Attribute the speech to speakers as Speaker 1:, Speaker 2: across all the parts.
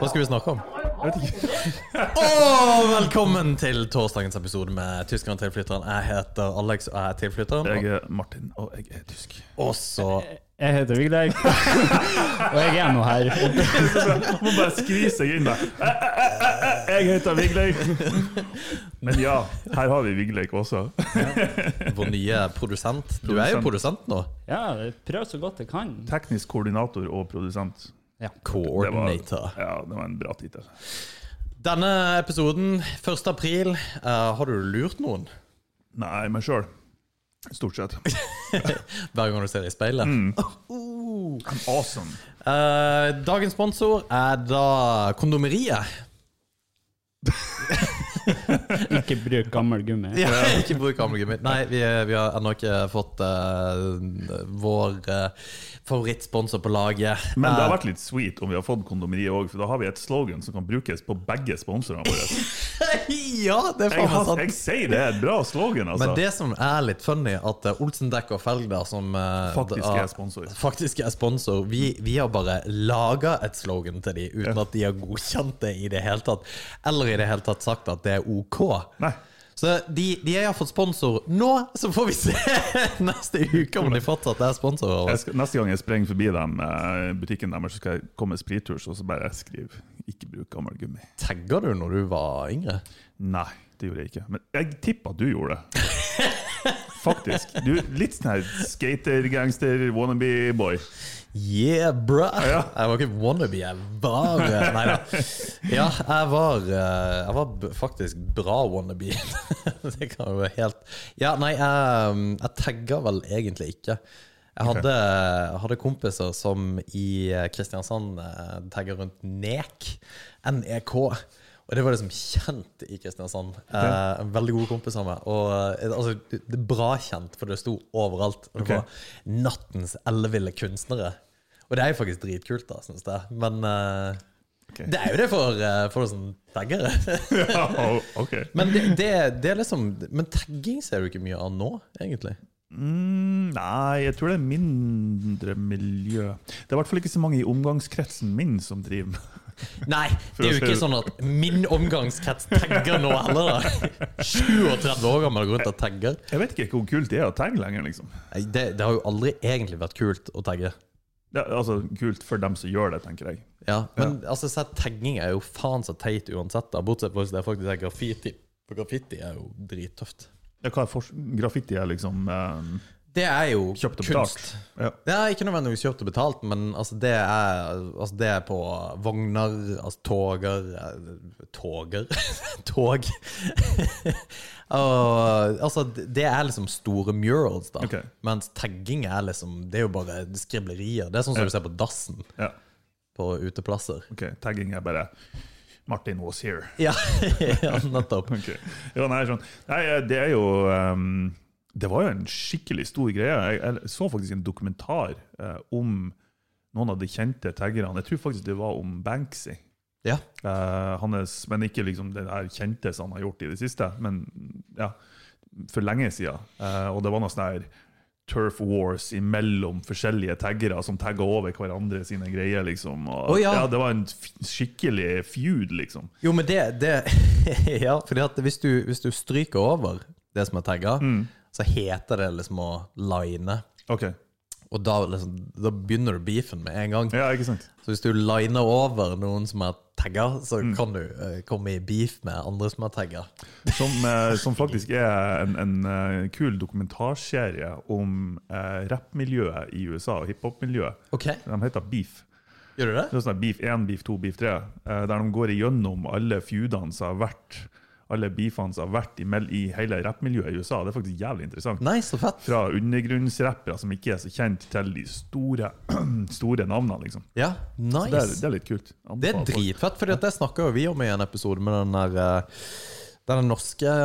Speaker 1: Hva skal vi snakke om?
Speaker 2: Jeg vet ikke.
Speaker 1: Og velkommen til torsdagens episode med Tyskeren og tilflytteren. Jeg heter Alex, og jeg er tilflytteren.
Speaker 2: Jeg er Martin, og jeg er tysk.
Speaker 1: Og så
Speaker 3: Jeg heter Vigdeig, og jeg er nå her.
Speaker 2: Jeg må bare skvise seg inn der. Eh, eh, eh, eh, Jeg heter Vigleik. Men ja, her har vi Vigleik også.
Speaker 1: vår nye produsent. Du er jo produsent nå.
Speaker 3: Ja, jeg prøver så godt jeg kan.
Speaker 2: Teknisk koordinator og produsent. Det var,
Speaker 1: Coordinator.
Speaker 2: ja, det var en bra tittel.
Speaker 1: Denne episoden, 1. april. eh, har du lurt noen
Speaker 2: Nei, meg sjøl. Stort sett.
Speaker 1: hver gang du ser deg i speilet?
Speaker 2: Mm. I'm awesome.
Speaker 1: Eh, dagens sponsor er da Kondomeriet.
Speaker 3: Ikke bruk gammel gummi.
Speaker 1: Ja, ikke bruk amlegummi. Nei, vi, vi har ennå ikke fått eh, vår eh, favorittsponsor på laget.
Speaker 2: Men det har vært litt sweet om vi har fått kondomeriet òg, for da har vi et slogan som kan brukes på begge sponsorene våre.
Speaker 1: Eh, ja, det er
Speaker 2: Jeg,
Speaker 1: faen meg
Speaker 2: har,
Speaker 1: sant.
Speaker 2: jeg altså. sier det er et bra slogan, altså.
Speaker 1: Men det som er litt funny, at eh, Olsen Dekk og Felder, som eh,
Speaker 2: Faktisk
Speaker 1: da-
Speaker 2: er sponsor.
Speaker 1: faktisk er sponsor vi, vi har bare laga et slogan til dem uten at de har godkjent det i det hele tatt. Eller i det hele tatt sagt at det er OK.
Speaker 2: Nei.
Speaker 1: Så de, de har fått sponsor nå, så får vi se neste uke om de fortsatt er sponsorer. av
Speaker 2: Jeg
Speaker 1: oss.
Speaker 2: skal, neste gang jeg sprenger forbi dem, eh, butikken deres, så skal jeg komme med spritkurs, og så bare skrive 'ikke bruk gammel gummi'.
Speaker 1: Tagga du når du var yngre?
Speaker 2: Nei, det gjorde jeg ikke. Men jeg tipper at du gjorde det. Faktisk. Du er litt sånn her skater-gangster-wannabe-boy.
Speaker 1: Yeah, bruh! Jeg var ikke wannabe, jeg var eh, Nei da. Ja, jeg var, eh, jeg var b- faktisk bra wannabe. Det kan jo være helt Ja, nei, jeg, jeg tagga vel egentlig ikke. Jeg hadde, jeg hadde kompiser som i Kristiansand eh, tagga rundt NEK. NEK. Og det var liksom kjent i Kristiansand. Eh, veldig gode kompiser av meg. Og eh, altså, det det er bra kjent, for det sto overalt. Og det
Speaker 2: Ok.
Speaker 1: var nattens elleville kunstnere. Og det er jo faktisk dritkult, da, syns jeg. Men eh,
Speaker 2: Ok.
Speaker 1: det er jo det for, eh, for sånn taggere.
Speaker 2: Ja, Oh, ok.
Speaker 1: men det, det, det er liksom Men tagging ser du ikke mye av nå, egentlig.
Speaker 2: Mm, nei, jeg tror det er mindre miljø. Det er i hvert fall ikke så mange i omgangskretsen min som driver med
Speaker 1: Nei, det er jo
Speaker 2: å
Speaker 1: ikke
Speaker 2: si det-
Speaker 1: sånn at min omgangskrets tagger nå heller, da. 37 år gammel går rundt og tagger.
Speaker 2: Jeg vet ikke hvor kult det er å tagge lenger, liksom.
Speaker 1: Nei, Det, det har jo aldri egentlig vært kult å tagge.
Speaker 2: Det er, altså, kult for dem som gjør det, tenker jeg.
Speaker 1: Ja, men altså, så tagging er jo faen så teit uansett, da. bortsett fra hvis det er faktisk er graffiti. For graffiti er jo drittøft.
Speaker 2: Ja, hva er fors- graffiti er liksom eh,
Speaker 1: Det er jo
Speaker 2: Kjøpt og
Speaker 1: kunst.
Speaker 2: Ja.
Speaker 1: Det er ikke nødvendigvis kjøpt og betalt, men altså det, er, altså det er på vogner, altså toger eh, Toger? Tog. og, altså det det er liksom store murals, da.
Speaker 2: Ok.
Speaker 1: Mens tagging er liksom Det er jo bare skriblerier. Det er sånn som du ser på dassen
Speaker 2: Ja,
Speaker 1: på uteplasser.
Speaker 2: ok. Tagging er bare Martin was here.
Speaker 1: Ja, ja nettopp.
Speaker 2: Ok. Ja, nei, sånn. nei, det er jo ehm, Det var jo en skikkelig stor greie. Jeg, jeg så faktisk en dokumentar eh, om noen av de kjente taggerne. Jeg tror faktisk det var om Banksy.
Speaker 1: Ja.
Speaker 2: Eh, hans, men ikke liksom det der kjente som han har gjort i det siste, men ja, for lenge siden. Eh, og det var noe sånn her turf wars imellom forskjellige taggere som tagga over hverandre sine greier, liksom. Og,
Speaker 1: Å, ja.
Speaker 2: det var en f skikkelig feud, liksom.
Speaker 1: Jo, men det, det Ja, fordi at hvis du, hvis du stryker over det som er tagga, så heter det liksom å line.
Speaker 2: Ok.
Speaker 1: Og da, liksom, da begynner du beefen med en gang.
Speaker 2: Ja, ikke sant?
Speaker 1: Så hvis du liner over noen som er tagga, så
Speaker 2: Mm.
Speaker 1: kan du eh, komme i beef med andre som er tagga.
Speaker 2: Som, eh, som faktisk er en, en eh, kul dokumentarserie om eh, rappmiljøet i USA og hiphop-miljøet.
Speaker 1: Ok,
Speaker 2: De heter Beef.
Speaker 1: gjør du det?
Speaker 2: Det er sånn her Beef 1, Beef 2, Beef 3. eh, Der de går igjennom alle feudene som har vært, alle beefene som har vært i, mel- i hele rappmiljøet i USA. Det er faktisk jævlig interessant.
Speaker 1: Nei, så fett.
Speaker 2: Fra undergrunnsrappere som ikke er så kjent, til de store, store navnene, liksom.
Speaker 1: Ja, nice.
Speaker 2: Det er, det er litt kult.
Speaker 1: Det er
Speaker 2: Anbefaler folk.
Speaker 1: dritfett, for det snakka jo vi om i en episode med den der eh, den norske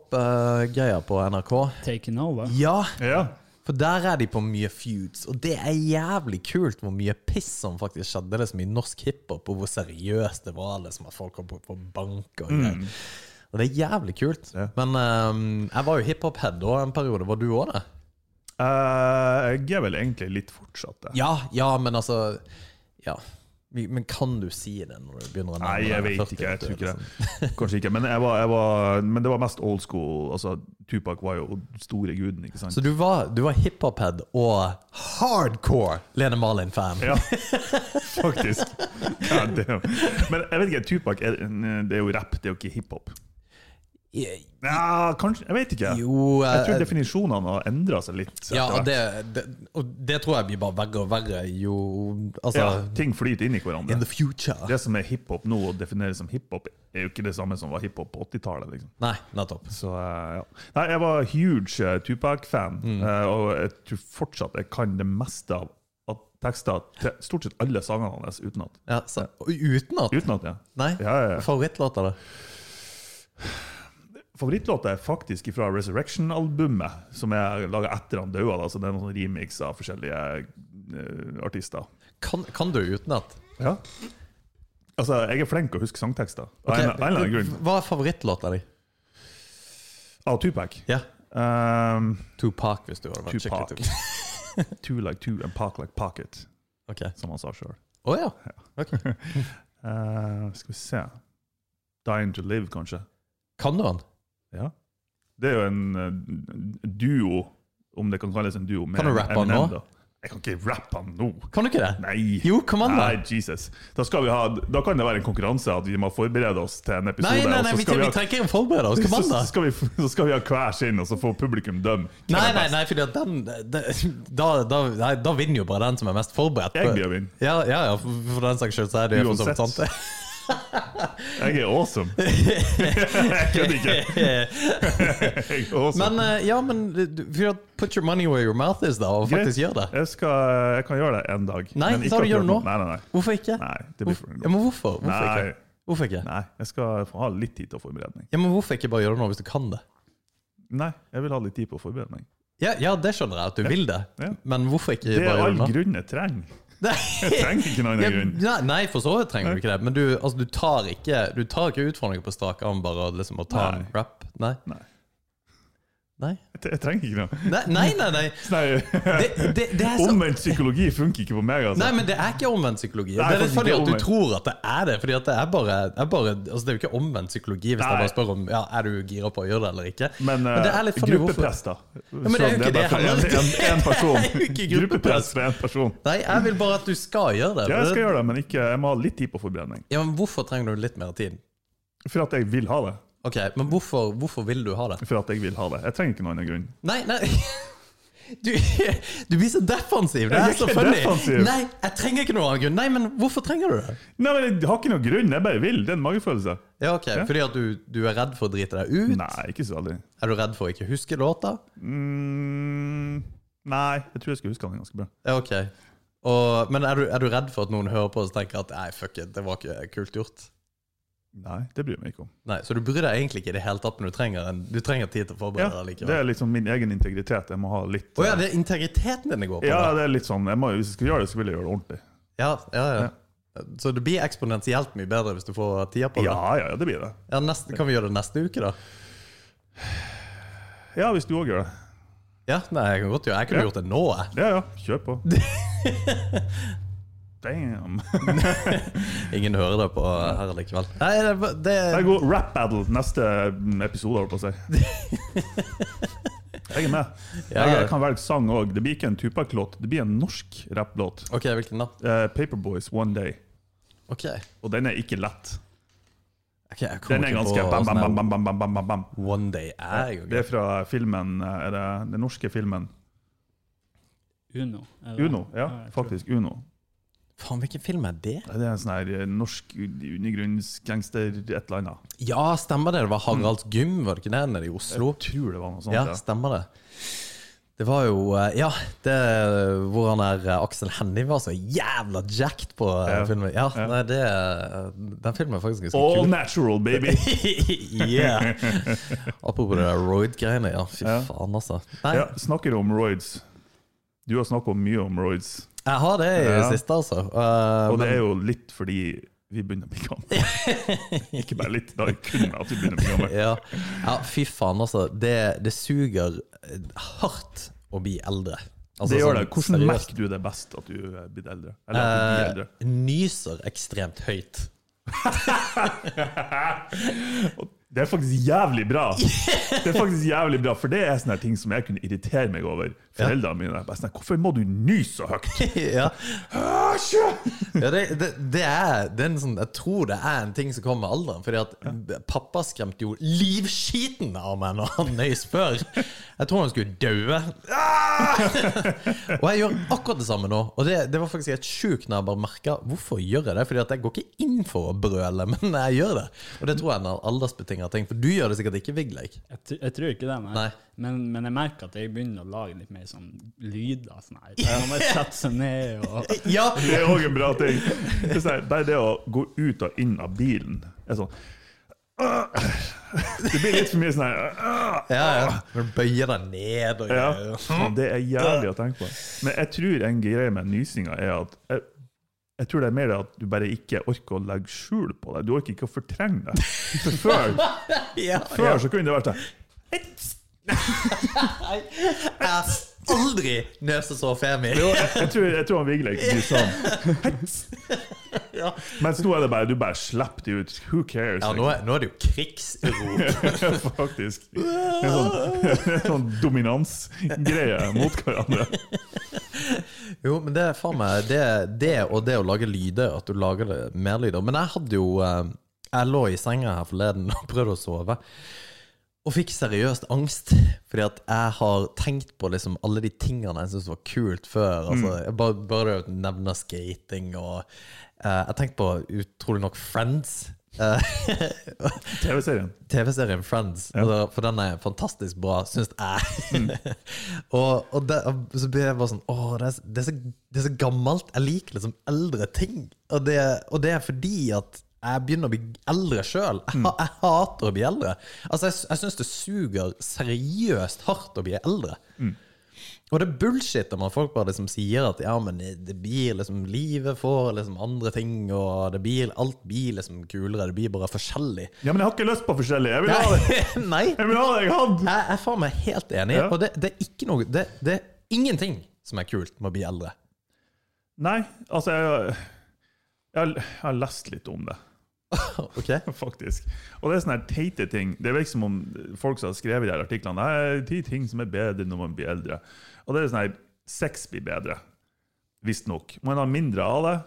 Speaker 1: hiphop-greia på NRK.
Speaker 3: Taken over.
Speaker 1: Ja,
Speaker 2: Ja,
Speaker 1: for der er de på mye feuds, og det er jævlig kult hvor mye piss som faktisk skjedde liksom, i norsk hiphop, og hvor seriøst det var liksom, at folk kom på, på bank og greier. Og det er jævlig kult.
Speaker 2: Mm. Ja.
Speaker 1: Men eh, jeg var jo hiphop-head da en periode. Var du òg det?
Speaker 2: Eh, jeg er vel egentlig litt fortsatt det.
Speaker 1: Ja, ja, men altså Ja. Men kan du si det når du begynner å
Speaker 2: Nei, jeg
Speaker 1: deg
Speaker 2: vet
Speaker 1: 40,
Speaker 2: ikke. Jeg tror ikke
Speaker 1: liksom?
Speaker 2: det. Kanskje ikke. Men, jeg var, jeg var, men det var mest old school. Altså, Tupac var jo store guden, ikke sant?
Speaker 1: Så du var, du var hiphop-head og hardcore Lene Marlin-fan.
Speaker 2: Ja, faktisk. God damn. Men jeg vet ikke, Tupac er, det er jo rap, det er jo ikke hiphop.
Speaker 1: I-
Speaker 2: Ja, kanskje, jeg vet ikke.
Speaker 1: Jo, eh,
Speaker 2: Jeg tror definisjonene har endra seg litt. etter
Speaker 1: ja, og
Speaker 2: hvert.
Speaker 1: det, det, og det tror jeg blir bare verre og verre jo Altså
Speaker 2: ja, ting flyter inn i hverandre.
Speaker 1: In the future.
Speaker 2: Det som er hiphop nå, og defineres som hiphop, er jo ikke det samme som var hiphop på 80-tallet. liksom.
Speaker 1: Nei, nettopp.
Speaker 2: Så, eh, ja. Nei, jeg var huge eh, Tupac-fan,
Speaker 1: Mm.
Speaker 2: eh, og jeg tror fortsatt jeg kan det meste av av tekster til stort sett alle sangene hans utenat.
Speaker 1: Ja, så, og utenat?
Speaker 2: Utenat, ja.
Speaker 1: Nei?
Speaker 2: ja, ja, ja.
Speaker 1: Favorittlåter, da?
Speaker 2: Favorittlåta er faktisk fra Resurrection-albumet, som er laga etter han døde. da, så Det er noen remix av forskjellige eh, artister.
Speaker 1: Kan, kan du utenat?
Speaker 2: Ja. Altså, jeg er flink til å huske sangtekster. Av
Speaker 1: Ok,
Speaker 2: en- av en eller annen grunn.
Speaker 1: Hva er favorittlåta di?
Speaker 2: Av Tupac.
Speaker 1: Ja.
Speaker 2: Um,
Speaker 1: Tupac, hvis du hadde vært
Speaker 2: Tupac.
Speaker 1: skikkelig Tupac.
Speaker 2: two like two and park like pocket,
Speaker 1: Ok.
Speaker 2: som han sa sjøl.
Speaker 1: Å ja. Ok.
Speaker 2: Eh, skal vi se Dying to Live, kanskje.
Speaker 1: Kan du den?
Speaker 2: Ja. Det er jo en eh, duo, om det kan kalles en duo. med
Speaker 1: Kan du rappe han
Speaker 2: Eminem,
Speaker 1: nå?
Speaker 2: da. Jeg kan ikke rappe han nå!
Speaker 1: Kan du ikke det?
Speaker 2: Nei!
Speaker 1: Jo, kom an, da.
Speaker 2: Nei, Jesus. Da, skal vi ha, da kan det være en konkurranse at vi må forberede oss til en episode.
Speaker 1: Nei, nei, nei,
Speaker 2: og så
Speaker 1: vi,
Speaker 2: skal
Speaker 1: vi,
Speaker 2: ha-
Speaker 1: trenger ikke forberede oss. Kom an, da.
Speaker 2: så skal, vi, så skal vi ha hver sin, og så får publikum dømme. hvem
Speaker 1: Nei,
Speaker 2: er
Speaker 1: nei,
Speaker 2: best.
Speaker 1: nei, fordi at den det- da, da, nei, da vinner jo bare den som er mest forberedt.
Speaker 2: Jeg blir å vinne.
Speaker 1: Ja, ja, ja, for for den saks skyld så er det jo for så vidt
Speaker 2: Uansett.
Speaker 1: sant. det.
Speaker 2: Jeg er awesome. jeg kødder ikke. Jeg er awesome.
Speaker 1: Men eh, ja, men du, for at put your money where your mouth is, da, og faktisk gjør det.
Speaker 2: Jeg, skal, jeg kan gjøre det en dag.
Speaker 1: Nei,
Speaker 2: men ikke
Speaker 1: da du
Speaker 2: akkurat
Speaker 1: gjør det nå.
Speaker 2: Nei, nei, nei.
Speaker 1: Hvorfor ikke?
Speaker 2: Nei, det blir for
Speaker 1: Ja, men hvorfor? Hvorfor
Speaker 2: Nei.
Speaker 1: ikke? Hvorfor ikke?
Speaker 2: Nei, jeg skal få ha litt tid til å forberede meg.
Speaker 1: Ja, men hvorfor ikke bare gjøre det nå hvis du kan det?
Speaker 2: Nei, jeg vil ha litt tid på å forberede meg.
Speaker 1: Ja, ja det skjønner jeg at du vil det,
Speaker 2: Ja.
Speaker 1: men hvorfor ikke
Speaker 2: Det er
Speaker 1: bare
Speaker 2: all
Speaker 1: gjøre det nå?
Speaker 2: grunn jeg trenger.
Speaker 1: Nei.
Speaker 2: Jeg trenger ikke noen
Speaker 1: Ja,
Speaker 2: annen grunn.
Speaker 1: nei, nei, for så vidt trenger du ikke det. Men du, altså, du tar ikke Du tar ikke utfordringer på strak arm bare og liksom, å ta en
Speaker 2: Nei.
Speaker 1: rap? Nei?
Speaker 2: Nei.
Speaker 1: Nei,
Speaker 2: Jeg jeg trenger ikke noe.
Speaker 1: nei, nei. nei, nei.
Speaker 2: Nei,
Speaker 1: Det, det, det er så
Speaker 2: Omvendt psykologi funker ikke på meg, altså.
Speaker 1: Nei, men det er ikke omvendt psykologi.
Speaker 2: Nei,
Speaker 1: det er litt
Speaker 2: faktisk
Speaker 1: funny
Speaker 2: ikke
Speaker 1: at du
Speaker 2: omvendt.
Speaker 1: tror at det er det. Fordi at det er bare, er bare Altså det er jo ikke omvendt psykologi hvis jeg
Speaker 2: Nei.
Speaker 1: bare spør om Ja, er du gira på å gjøre det eller ikke.
Speaker 2: Men,
Speaker 1: det er
Speaker 2: eh,
Speaker 1: litt funny hvorfor-
Speaker 2: gruppepress, da.
Speaker 1: men det er jo ikke det
Speaker 2: en,
Speaker 1: handler om.
Speaker 2: en, en person.
Speaker 1: Det er jo ikke
Speaker 2: Gruppepress fra en person.
Speaker 1: Nei, jeg vil bare at du skal gjøre det.
Speaker 2: Ja, jeg skal gjøre det, men ikke, jeg må ha litt tid på forberedning.
Speaker 1: Ja, men Hvorfor trenger du litt mer tid?
Speaker 2: For at jeg vil ha det.
Speaker 1: Ok, Men hvorfor, hvorfor vil du ha det?
Speaker 2: For at jeg vil ha det. Jeg trenger ikke noen annen grunn.
Speaker 1: Nei, nei du, du blir så defensiv. Det
Speaker 2: Jeg
Speaker 1: er
Speaker 2: er
Speaker 1: så
Speaker 2: ikke
Speaker 1: funny.
Speaker 2: defensiv.
Speaker 1: Nei, jeg trenger ikke noen annen grunn. Nei, men hvorfor trenger du det?
Speaker 2: Nei, men Jeg har ikke noen grunn, jeg bare vil. Det er en magefølelse.
Speaker 1: Ja, ok, Fordi at du, du er redd for å drite deg ut?
Speaker 2: Nei, ikke så veldig.
Speaker 1: Er du redd for å ikke huske låta?
Speaker 2: Mm, nei, jeg tror jeg skal huske han ganske bra.
Speaker 1: Ja, ok. Og, men er du, er du redd for at noen hører på og tenker at nei, fuck it, det var ikke kult gjort?
Speaker 2: Nei, det bryr jeg meg ikke om.
Speaker 1: Nei, Så du bryr deg egentlig ikke i det hele tatt, men du trenger, en, du trenger tid til å
Speaker 2: Ja,
Speaker 1: forberede deg
Speaker 2: det
Speaker 1: likevel?
Speaker 2: er liksom min egen integritet. Jeg må ha litt
Speaker 1: Å ja, det er integriteten din det går på?
Speaker 2: Ja,
Speaker 1: da.
Speaker 2: det er litt sånn jeg må, Hvis jeg skal gjøre det, så vil jeg gjøre det ordentlig.
Speaker 1: ja, ja, ja. Så det blir eksponentielt mye bedre hvis du får tida på det?
Speaker 2: Ja, ja, ja, det blir det.
Speaker 1: Ja, neste, kan vi gjøre det neste uke, da?
Speaker 2: Ja, hvis du òg gjør det.
Speaker 1: Ja, nei, jeg kan godt gjøre Jeg kunne
Speaker 2: Ja.
Speaker 1: gjort det nå, jeg.
Speaker 2: Ja, ja, kjør på. Damn.
Speaker 1: Ingen hører det på eh, her likevel. Nei, det, er bare- det
Speaker 2: Det er god rap battle neste mm, episode, holdt på å si. Jeg er med. Jeg, jeg kan velge sang òg. Det blir ikke en Tupac-låt, det blir en norsk rapplåt.
Speaker 1: Ok, hvilken da?
Speaker 2: Eh, Paperboys One Day.
Speaker 1: Ok.
Speaker 2: Og den er ikke lett.
Speaker 1: Ok, jeg kommer
Speaker 2: Den er
Speaker 1: ikke på
Speaker 2: ganske bam,
Speaker 1: sånn
Speaker 2: bam,
Speaker 1: her
Speaker 2: bam, bam, bam, bam, bam, bam, bam.
Speaker 1: One Day er jo
Speaker 2: Det er fra filmen eh, er det, Den norske filmen
Speaker 3: Uno. er det det?
Speaker 2: Uno. Ja,
Speaker 3: Ja, jeg tror
Speaker 2: faktisk. Uno.
Speaker 1: Faen, hvilken film er det?
Speaker 2: Det er en sånn her eh, norsk undergrunnsgangster et eller annet.
Speaker 1: Ja, stemmer det. Det var Haralds gym, var det ikke det? Nede i Oslo.
Speaker 2: Jeg tror det var noe sånt.
Speaker 1: Ja,
Speaker 2: Ja.
Speaker 1: stemmer det. Det var jo eh, Ja, det hvor han der eh, Aksel Hennie var så jævla jacked på eh,
Speaker 2: Ja.
Speaker 1: filmen. Ja,
Speaker 2: Ja.
Speaker 1: nei, det eh, Den filmen er faktisk ganske
Speaker 2: All
Speaker 1: kul.
Speaker 2: natural, baby!
Speaker 1: yeah. Apropos det der Royd-greiene. Ja, fy
Speaker 2: Ja.
Speaker 1: faen, altså. Nei,
Speaker 2: Ja, snakker om roids. Du har snakket mye om roids.
Speaker 1: jeg har det i det
Speaker 2: Ja.
Speaker 1: siste, altså. Eh,
Speaker 2: Og det
Speaker 1: men-
Speaker 2: er jo litt fordi vi begynner å bli gamle. Ikke bare litt, da er det kun at vi begynner å bli gamle.
Speaker 1: ja. ja, fy faen, altså. Det, det suger eh, hardt å bli eldre. Altså,
Speaker 2: det
Speaker 1: sånn
Speaker 2: gjør det. Hvordan
Speaker 1: seriøst.
Speaker 2: merker du det best at du er blitt eldre? Eller at du blir eldre?
Speaker 1: Eh, Nyser ekstremt høyt.
Speaker 2: Det er faktisk jævlig bra! Det er faktisk jævlig bra, For det er sånne her ting som jeg kunne irritere meg over. Foreldrene mine er bare sånn her, Hvorfor må du nyse så høyt?
Speaker 1: ja. ja det, det, det, er, det er en sånn Jeg tror det er en ting som kommer med alderen. Fordi at pappa skremte jo livskiten av meg når han nøys før. Jeg tror han skulle daue. Ah! og jeg gjør akkurat det samme nå. Og det, det var faktisk helt sjukt når jeg bare merka hvorfor gjør jeg det. Fordi at jeg går ikke inn for å brøle, men jeg gjør det. Og det tror jeg er en aldersbetinga ting. For du gjør det sikkert ikke, Vigleik.
Speaker 3: Jeg, tr- jeg tror ikke det, nei.
Speaker 1: Nei.
Speaker 3: Men, men jeg merker at jeg begynner å lage litt mer sånn lyder. Sånn her. Man bare setter seg ned og
Speaker 1: Ja,
Speaker 2: Det er òg en bra ting. Det er sånn her, Bare det å gå ut og inn av bilen er sånn Det blir litt for mye sånn her
Speaker 1: ja, ja. Men bøyer deg ned og
Speaker 2: Ja,
Speaker 1: greier.
Speaker 2: faen, det er jævlig å tenke på. Men jeg tror en greie med nysinga er at jeg, jeg tror det er mer det at du bare ikke orker å legge skjul på det. Du orker ikke å fortrenge det. For før,
Speaker 1: Ja.
Speaker 2: før så kunne det vært sånn
Speaker 1: Nei, jeg har aldri nøst så femi.
Speaker 2: jo, jeg, jeg, tror, jeg tror han Vigleik blir sånn.
Speaker 1: Ja.
Speaker 2: Mens nå er det bare du bare slipper det ut. Who cares?
Speaker 1: Ja, nå er, nå er det jo krigsrop.
Speaker 2: Faktisk. En sånn, en sånn dominansgreie mot hverandre.
Speaker 1: Jo, men det er faen meg det, det og det å lage lyder, at du lager det mer lyder. Men jeg hadde jo eh, Jeg lå i senga her forleden og prøvde å sove. Og fikk seriøst angst, fordi at jeg har tenkt på liksom alle de tingene jeg syntes var kult før. Altså, jeg bare, bare det å nevne skating og eh, Jeg tenkte på utrolig nok Friends. Eh,
Speaker 2: TV-serien.
Speaker 1: TV-serien Friends, altså, for den er fantastisk bra, syns jeg. og og det, så blir jeg bare sånn Å, det er, det, er så, det er så gammelt. Jeg liker liksom eldre ting. Og det, og det er fordi at jeg begynner å bli eldre sjøl. Jeg, ha- jeg hater å bli eldre. Altså, jeg, jeg syns det suger seriøst hardt å bli eldre. Og det er bullshit om at folk bare liksom sier at ja, men det blir liksom livet får liksom andre ting, og det blir, alt blir liksom kulere, det blir bare forskjellig.
Speaker 2: Ja, men jeg har ikke lyst på forskjellig. Jeg vil ha det!
Speaker 1: Nei. Nei.
Speaker 2: Jeg vil ha det jeg hadde!
Speaker 1: Jeg er faen meg helt enig.
Speaker 2: Ja.
Speaker 1: Og det, det er ikke noe det, det er ingenting som er kult med å bli eldre.
Speaker 2: Nei, altså jeg, jeg, har- jeg har lest litt om det,
Speaker 1: Ok?
Speaker 2: faktisk. Og det er sånne her teite ting. Det virker som om folk som har skrevet de her artiklene Nei, ti ting som er bedre når man blir eldre. Og det er sånn her Sex blir bedre. Visstnok. Man har mindre av det,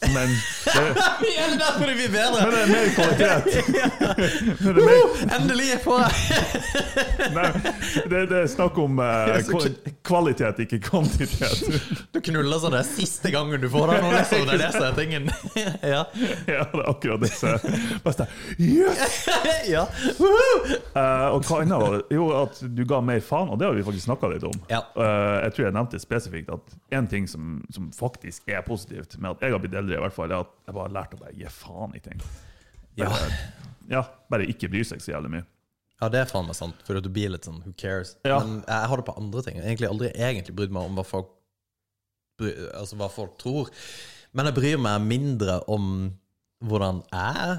Speaker 2: men det,
Speaker 1: Ja, det er derfor det blir bedre!
Speaker 2: men det er mer kvalitet. Men det er mer,
Speaker 1: Uh, endelig får jeg
Speaker 2: nei, det, det er snakk om eh,
Speaker 1: Jeg er så
Speaker 2: kva- kvalitet, ikke kvantitet.
Speaker 1: Du knuller sånn det er siste gangen du får den, og liksom, det er det som er tingen. Ja.
Speaker 2: Ja, det er akkurat det. som er best. Yes!
Speaker 1: Ja. Woohoo!
Speaker 2: Eh, og hva annet var det? Jo, at du ga mer faen, og det har vi faktisk snakka litt om.
Speaker 1: Ja.
Speaker 2: Eh, jeg tror jeg nevnte spesifikt at en ting som, som faktisk er positivt med at jeg har blitt eldre, i hvert fall, er at jeg bare har lært å bare gi faen i ting. Eh,
Speaker 1: Ja.
Speaker 2: Ja, Bare ikke bry seg så jævlig mye.
Speaker 1: Ja, det er faen meg sant, for at du blir litt sånn who cares.
Speaker 2: Ja.
Speaker 1: Men jeg har det på andre ting. Jeg har egentlig aldri egentlig brydd meg om hva folk, bry, altså hva folk tror. Men jeg bryr meg mindre om hvordan jeg er.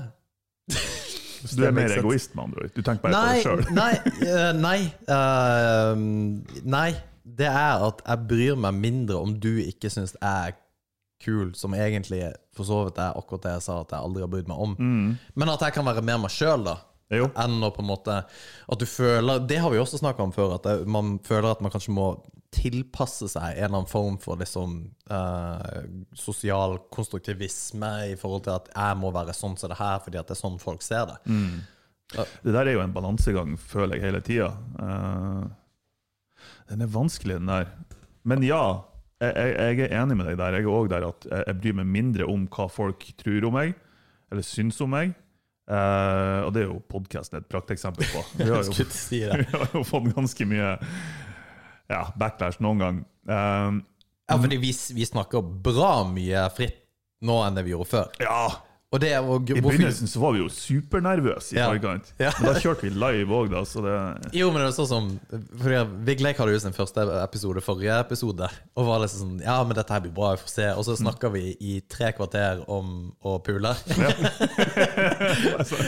Speaker 2: Så du er mer egoist, med andre ord. Du tenker bare
Speaker 1: Nei,
Speaker 2: på deg sjøl.
Speaker 1: nei, eh, nei, eh, nei. Det er at jeg bryr meg mindre om du ikke syns jeg er kul, som egentlig for så vidt er akkurat det jeg sa at jeg aldri har brydd meg om.
Speaker 2: Mm.
Speaker 1: Men at jeg kan være mer meg sjøl, da.
Speaker 2: Jo.
Speaker 1: Enn å på en måte At du føler Det har vi også snakka om før, at det, man føler at man kanskje må tilpasse seg en eller annen form for liksom eh, sosial konstruktivisme i forhold til at jeg må være sånn som det her, fordi at det er sånn folk ser det.
Speaker 2: Mm. Det der er jo en balansegang, føler jeg, hele tida. den er vanskelig, den der. Men ja, jeg, jeg, jeg er enig med deg der. Jeg er også der at jeg, jeg bryr meg mindre om hva folk tror om meg, eller syns om meg. Eh, og det er jo podkasten et prakteksempel på. Vi har jo,
Speaker 1: Skulle ikke si det.
Speaker 2: vi har jo fått ganske mye ja, backlash noen gang. Eh,
Speaker 1: Ja, fordi vi, vi snakker bra mye fritt nå enn det vi gjorde før.
Speaker 2: ja,
Speaker 1: Og det er og,
Speaker 2: I begynnelsen så var vi jo supernervøse i
Speaker 1: Ja.
Speaker 2: forkant.
Speaker 1: Ja.
Speaker 2: Men da kjørte vi live òg, da. Så det,
Speaker 1: Jo, men det er sånn som Fordi Vigleik hadde jo sin første episode forrige episode. Og var liksom sånn Ja, men dette her blir bra, vi får se. Og så snakker vi i tre kvarter om å pule.
Speaker 2: altså,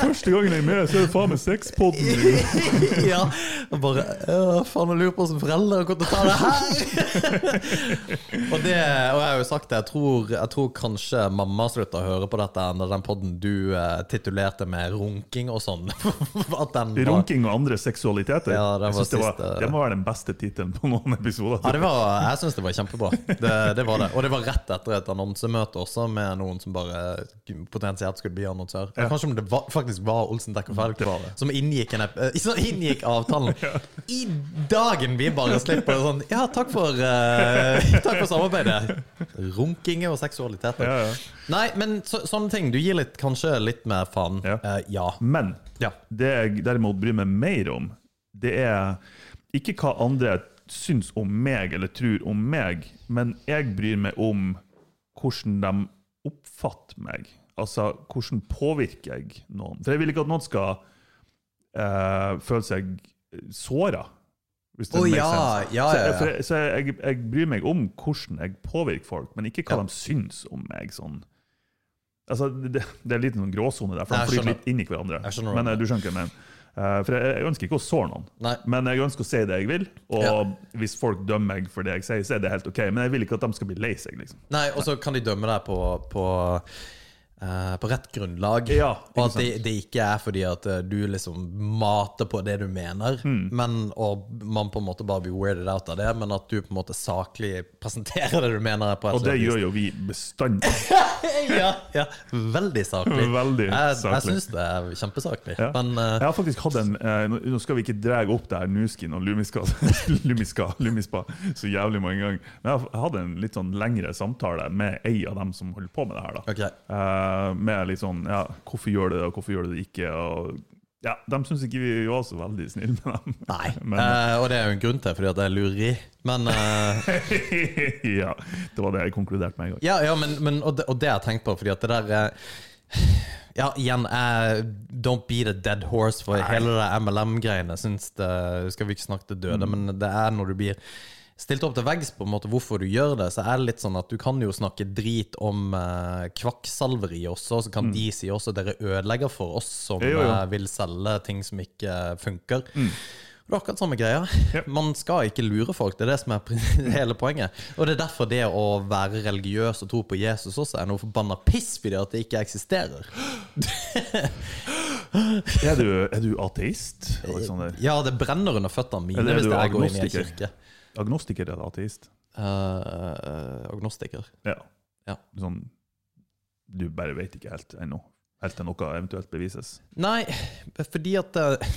Speaker 2: første gangen jeg er med, så er det faen meg sexpodden!
Speaker 1: ja. Og bare «Åh, faen, jeg lurer på hvordan foreldre har kommet til å ta det her! og det, og jeg har jo sagt det, jeg tror, jeg tror kanskje mamma slutta å høre på dette enn den podden du eh, titulerte med runking og sånn. At den var
Speaker 2: Runking og andre seksualiteter.
Speaker 1: Ja, det var
Speaker 2: Jeg synes det, var,
Speaker 1: siste-
Speaker 2: det må være den beste tittelen på noen episoder.
Speaker 1: Ja, det var, jeg syns det var kjempebra. Det, det var det. Og det var rett etter et annonsemøte også, med noen som bare potensielt skulle bli annonsør. Eller Kanskje om det var, faktisk var Olsen Dekker Felk som inngikk, en, ep- eh, som inngikk avtalen. I dagen vi bare slipper det sånn Ja, takk for, eh, takk for samarbeidet. Runking og seksualitet.
Speaker 2: Ja, ja.
Speaker 1: Nei, men så, sånne ting. Du gir litt, kanskje litt mer faen.
Speaker 2: Ja.
Speaker 1: Eh, ja.
Speaker 2: Men
Speaker 1: Ja.
Speaker 2: det jeg derimot bryr meg mer om, det er ikke hva andre syns om meg eller tror om meg, men jeg bryr meg om hvordan de oppfatter meg. Altså, hvordan påvirker jeg noen? For jeg vil ikke at noen skal eh, føle seg såra. Hvis det
Speaker 1: Å,
Speaker 2: makes
Speaker 1: ja,
Speaker 2: sense.
Speaker 1: ja,
Speaker 2: Så,
Speaker 1: ja,
Speaker 2: jeg,
Speaker 1: ja.
Speaker 2: for jeg, så jeg, jeg bryr meg om hvordan jeg påvirker folk, men ikke hva de syns om meg. sånn. Altså, det, det er litt noen gråsone der, for
Speaker 1: Jeg
Speaker 2: de flyter
Speaker 1: skjønner.
Speaker 2: litt inn i hverandre.
Speaker 1: Jeg skjønner hva
Speaker 2: Men
Speaker 1: du
Speaker 2: eh, du skjønner hva jeg mener. Eh, For jeg, jeg ønsker ikke å såre noen,
Speaker 1: Nei.
Speaker 2: men jeg ønsker å si det jeg vil. Og
Speaker 1: Ja.
Speaker 2: hvis folk dømmer meg for det jeg sier, så er det helt OK. Men jeg vil ikke at de skal bli lei seg. liksom.
Speaker 1: Nei, og så kan de dømme deg på, på, eh, på rett grunnlag.
Speaker 2: Ja,
Speaker 1: og
Speaker 2: ikke
Speaker 1: at det, det ikke er fordi at eh, du liksom mater på det du mener,
Speaker 2: Mm.
Speaker 1: men, og man på en måte bare blir weirded out av det, men at du på en måte saklig presenterer det du mener. På et
Speaker 2: Og det
Speaker 1: eller annet
Speaker 2: gjør jo vi bestandig.
Speaker 1: vis. ja, ja, Veldig saklig.
Speaker 2: Veldig
Speaker 1: jeg
Speaker 2: saklig.
Speaker 1: jeg syns det er kjempesaklig.
Speaker 2: Ja.
Speaker 1: Men eh,
Speaker 2: Jeg har faktisk hatt en eh, nå- Nå skal vi ikke dra opp det her Nuskin og Lumiska, Lumiska, Lumispa så jævlig mange ganger, men jeg har- jeg hadde en litt sånn lengre samtale med ei av dem som holder på med det her. da.
Speaker 1: ok,
Speaker 2: Eh, med litt sånn ja, Hvorfor gjør du det, og hvorfor gjør du det ikke? Og, ja, De syns ikke vi var så veldig snille med dem.
Speaker 1: nei.
Speaker 2: Men-
Speaker 1: Eh, og det er jo en grunn til, fordi at det er lureri. Men eh,
Speaker 2: ja, Det var det jeg konkluderte med en gang.
Speaker 1: Ja, ja men, men og, det, og det har jeg tenkt på, fordi at det der eh, Ja, igjen, eh, don't beat a dead horse for hele det MLM-greiene. Syns det Skal vi ikke snakke til
Speaker 2: Mm.
Speaker 1: døde, men det er når du blir Stilt opp til veggs på en måte hvorfor du gjør det, så er det litt sånn at du kan jo snakke drit om eh, kvakksalveri også, så kan de si også dere ødelegger for oss som
Speaker 2: Mm. Jo, jo.
Speaker 1: eh, vil selge ting som ikke eh, funker. Og Det er akkurat samme greia.
Speaker 2: Ja.
Speaker 1: Man skal ikke lure folk. Det er det som er prin- hele poenget. Og det er derfor det å være religiøs og tro på Jesus også er noe forbanna piss fordi at det ikke eksisterer.
Speaker 2: Er, du, er du ateist, Aleksander?
Speaker 1: Ja, det brenner under føttene mine
Speaker 2: Eller er
Speaker 1: hvis
Speaker 2: du
Speaker 1: jeg går inn i en
Speaker 2: agnostiker?
Speaker 1: kirke.
Speaker 2: Agnostiker eller ateist?
Speaker 1: Eh, agnostiker.
Speaker 2: Ja.
Speaker 1: Ja.
Speaker 2: Sånn, du bare vet ikke helt ennå. Helt til noe eventuelt bevises.
Speaker 1: Nei, fordi at eh,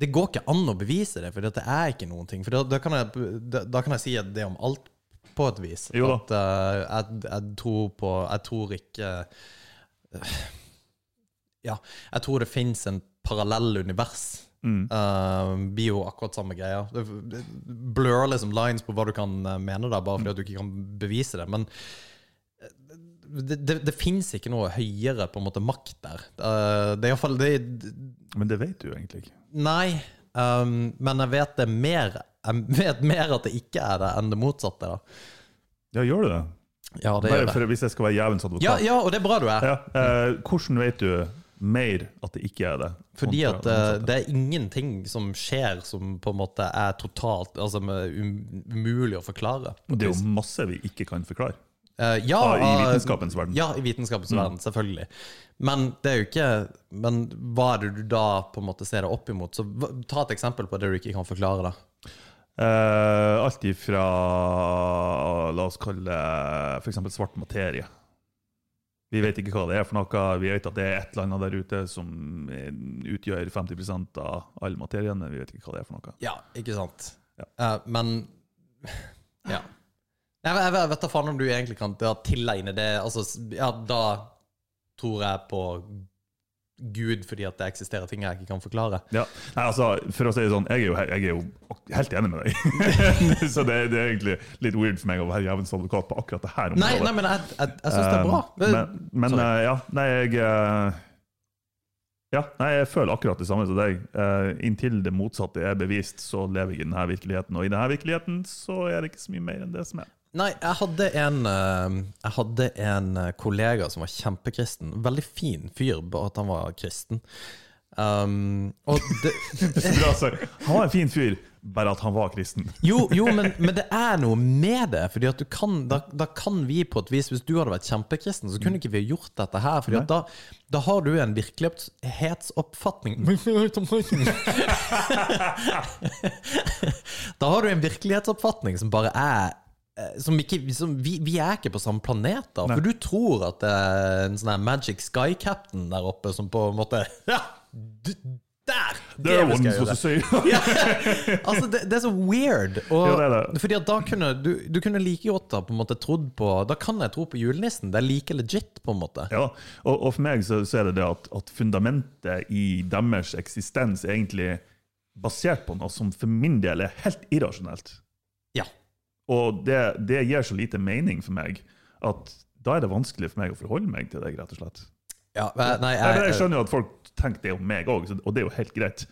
Speaker 1: Det går ikke an å bevise det, for det er ikke noen ting. For da, da, kan jeg, da, da kan jeg si at det om alt, på et vis.
Speaker 2: Jo
Speaker 1: At eh, jeg, jeg tror på Jeg tror ikke eh, Ja, jeg tror det fins en parallell univers.
Speaker 2: Mm.
Speaker 1: Eh, blir jo akkurat samme greia. Det det blur liksom lines på hva du kan eh, mene, da, bare fordi at du ikke kan bevise det. Men eh, det, det, det fins ikke noe høyere på en måte makt der. Eh, det er iallfall det,
Speaker 2: Men det vet du jo egentlig ikke.
Speaker 1: Nei. ehm, men jeg vet det mer Jeg vet mer at det ikke er det, enn det motsatte. da
Speaker 2: Ja, gjør du det?
Speaker 1: Ja, det
Speaker 2: Bare
Speaker 1: gjør det.
Speaker 2: for, hvis jeg skal være jævens advokat.
Speaker 1: Ja, ja, og det er bra du er.
Speaker 2: Ja, eh, hvordan vet du mer at det ikke er det?
Speaker 1: Fordi
Speaker 2: Kontra
Speaker 1: at
Speaker 2: det
Speaker 1: eh,
Speaker 2: motsatte.
Speaker 1: det er ingenting som skjer som på en måte er totalt Altså med um- umulig å forklare.
Speaker 2: Og det er jo masse vi ikke kan forklare
Speaker 1: Eh, ja,
Speaker 2: ah, i
Speaker 1: av-
Speaker 2: vitenskapens verden.
Speaker 1: Ja, i vitenskapens verden, selvfølgelig. Men det er jo ikke Men hva er det du da på en måte ser det opp imot? Så hva- ta et eksempel på det du ikke kan forklare, da.
Speaker 2: Eh, alt ifra La oss kalle f.eks. svart materie. Vi vet ikke hva det er for noe. Vi vet at det er et eller annet der ute som eh, utgjør 50 av all materien, men vi vet ikke hva det er for noe.
Speaker 1: Ja, ikke sant?
Speaker 2: Ja.
Speaker 1: Eh, men Ja. Jeg, jeg, jeg vet da faen om du egentlig kan da tilegne det Altså, s- ja, da tror jeg på Gud fordi at det eksisterer ting jeg ikke kan forklare.
Speaker 2: Ja. Nei, altså, for å si det sånn, jeg er jo, he- jeg er jo helt enig med deg. så det, det er egentlig litt weird for meg å være jævens advokat på akkurat det her.
Speaker 1: Nei, Eh,
Speaker 2: området.
Speaker 1: nei men jeg, jeg, jeg syns det er bra. Det,
Speaker 2: Men, men
Speaker 1: Sorry.
Speaker 2: eh, ja, nei, jeg eh, Ja, nei, jeg føler akkurat det samme som deg. Eh, inntil det motsatte er bevist, så lever jeg i denne virkeligheten. Og i denne virkeligheten så er det ikke så mye mer enn det som er.
Speaker 1: Nei, jeg hadde en eh, Jeg hadde en eh, kollega som var kjempekristen. Veldig fin fyr, bare at han var kristen. Um, og det,
Speaker 2: Så bra, så. Han var en fin fyr, bare at han var kristen.
Speaker 1: Jo, jo men, men det er noe med det. Fordi at du kan, da, da kan vi på et vis Hvis du hadde vært kjempekristen, så
Speaker 2: Mm.
Speaker 1: kunne ikke vi gjort dette her. Fordi at da, da har du en virkelighetsoppfatning Da har du en virkelighetsoppfatning som bare er eh, som ikke, som vi, vi er ikke på samme planet, da. For du tror at det er en sånn her Magic Sky Captain der oppe som på en måte Ja! d- Der!
Speaker 2: Det er
Speaker 1: vi skal
Speaker 2: one som
Speaker 1: gjøre.
Speaker 2: sier
Speaker 1: Ja. altså, det, det er så weird. Og,
Speaker 2: Ja, det er det.
Speaker 1: Fordi at da kunne du, du kunne like godt da på en måte trodd på Da kan jeg tro på julenissen. Det er like legit, på en måte.
Speaker 2: Ja, og, og for meg så, så er det det at, at fundamentet i deres eksistens er egentlig basert på noe som for min del er helt irrasjonelt.
Speaker 1: Ja.
Speaker 2: Og det, det gir så lite mening for meg at da er det vanskelig for meg å forholde meg til deg, rett og slett.
Speaker 1: ja eh, nei,
Speaker 2: Jeg, jeg
Speaker 1: jeg,
Speaker 2: skjønner jo at folk tenker det om meg òg, og det er jo helt greit.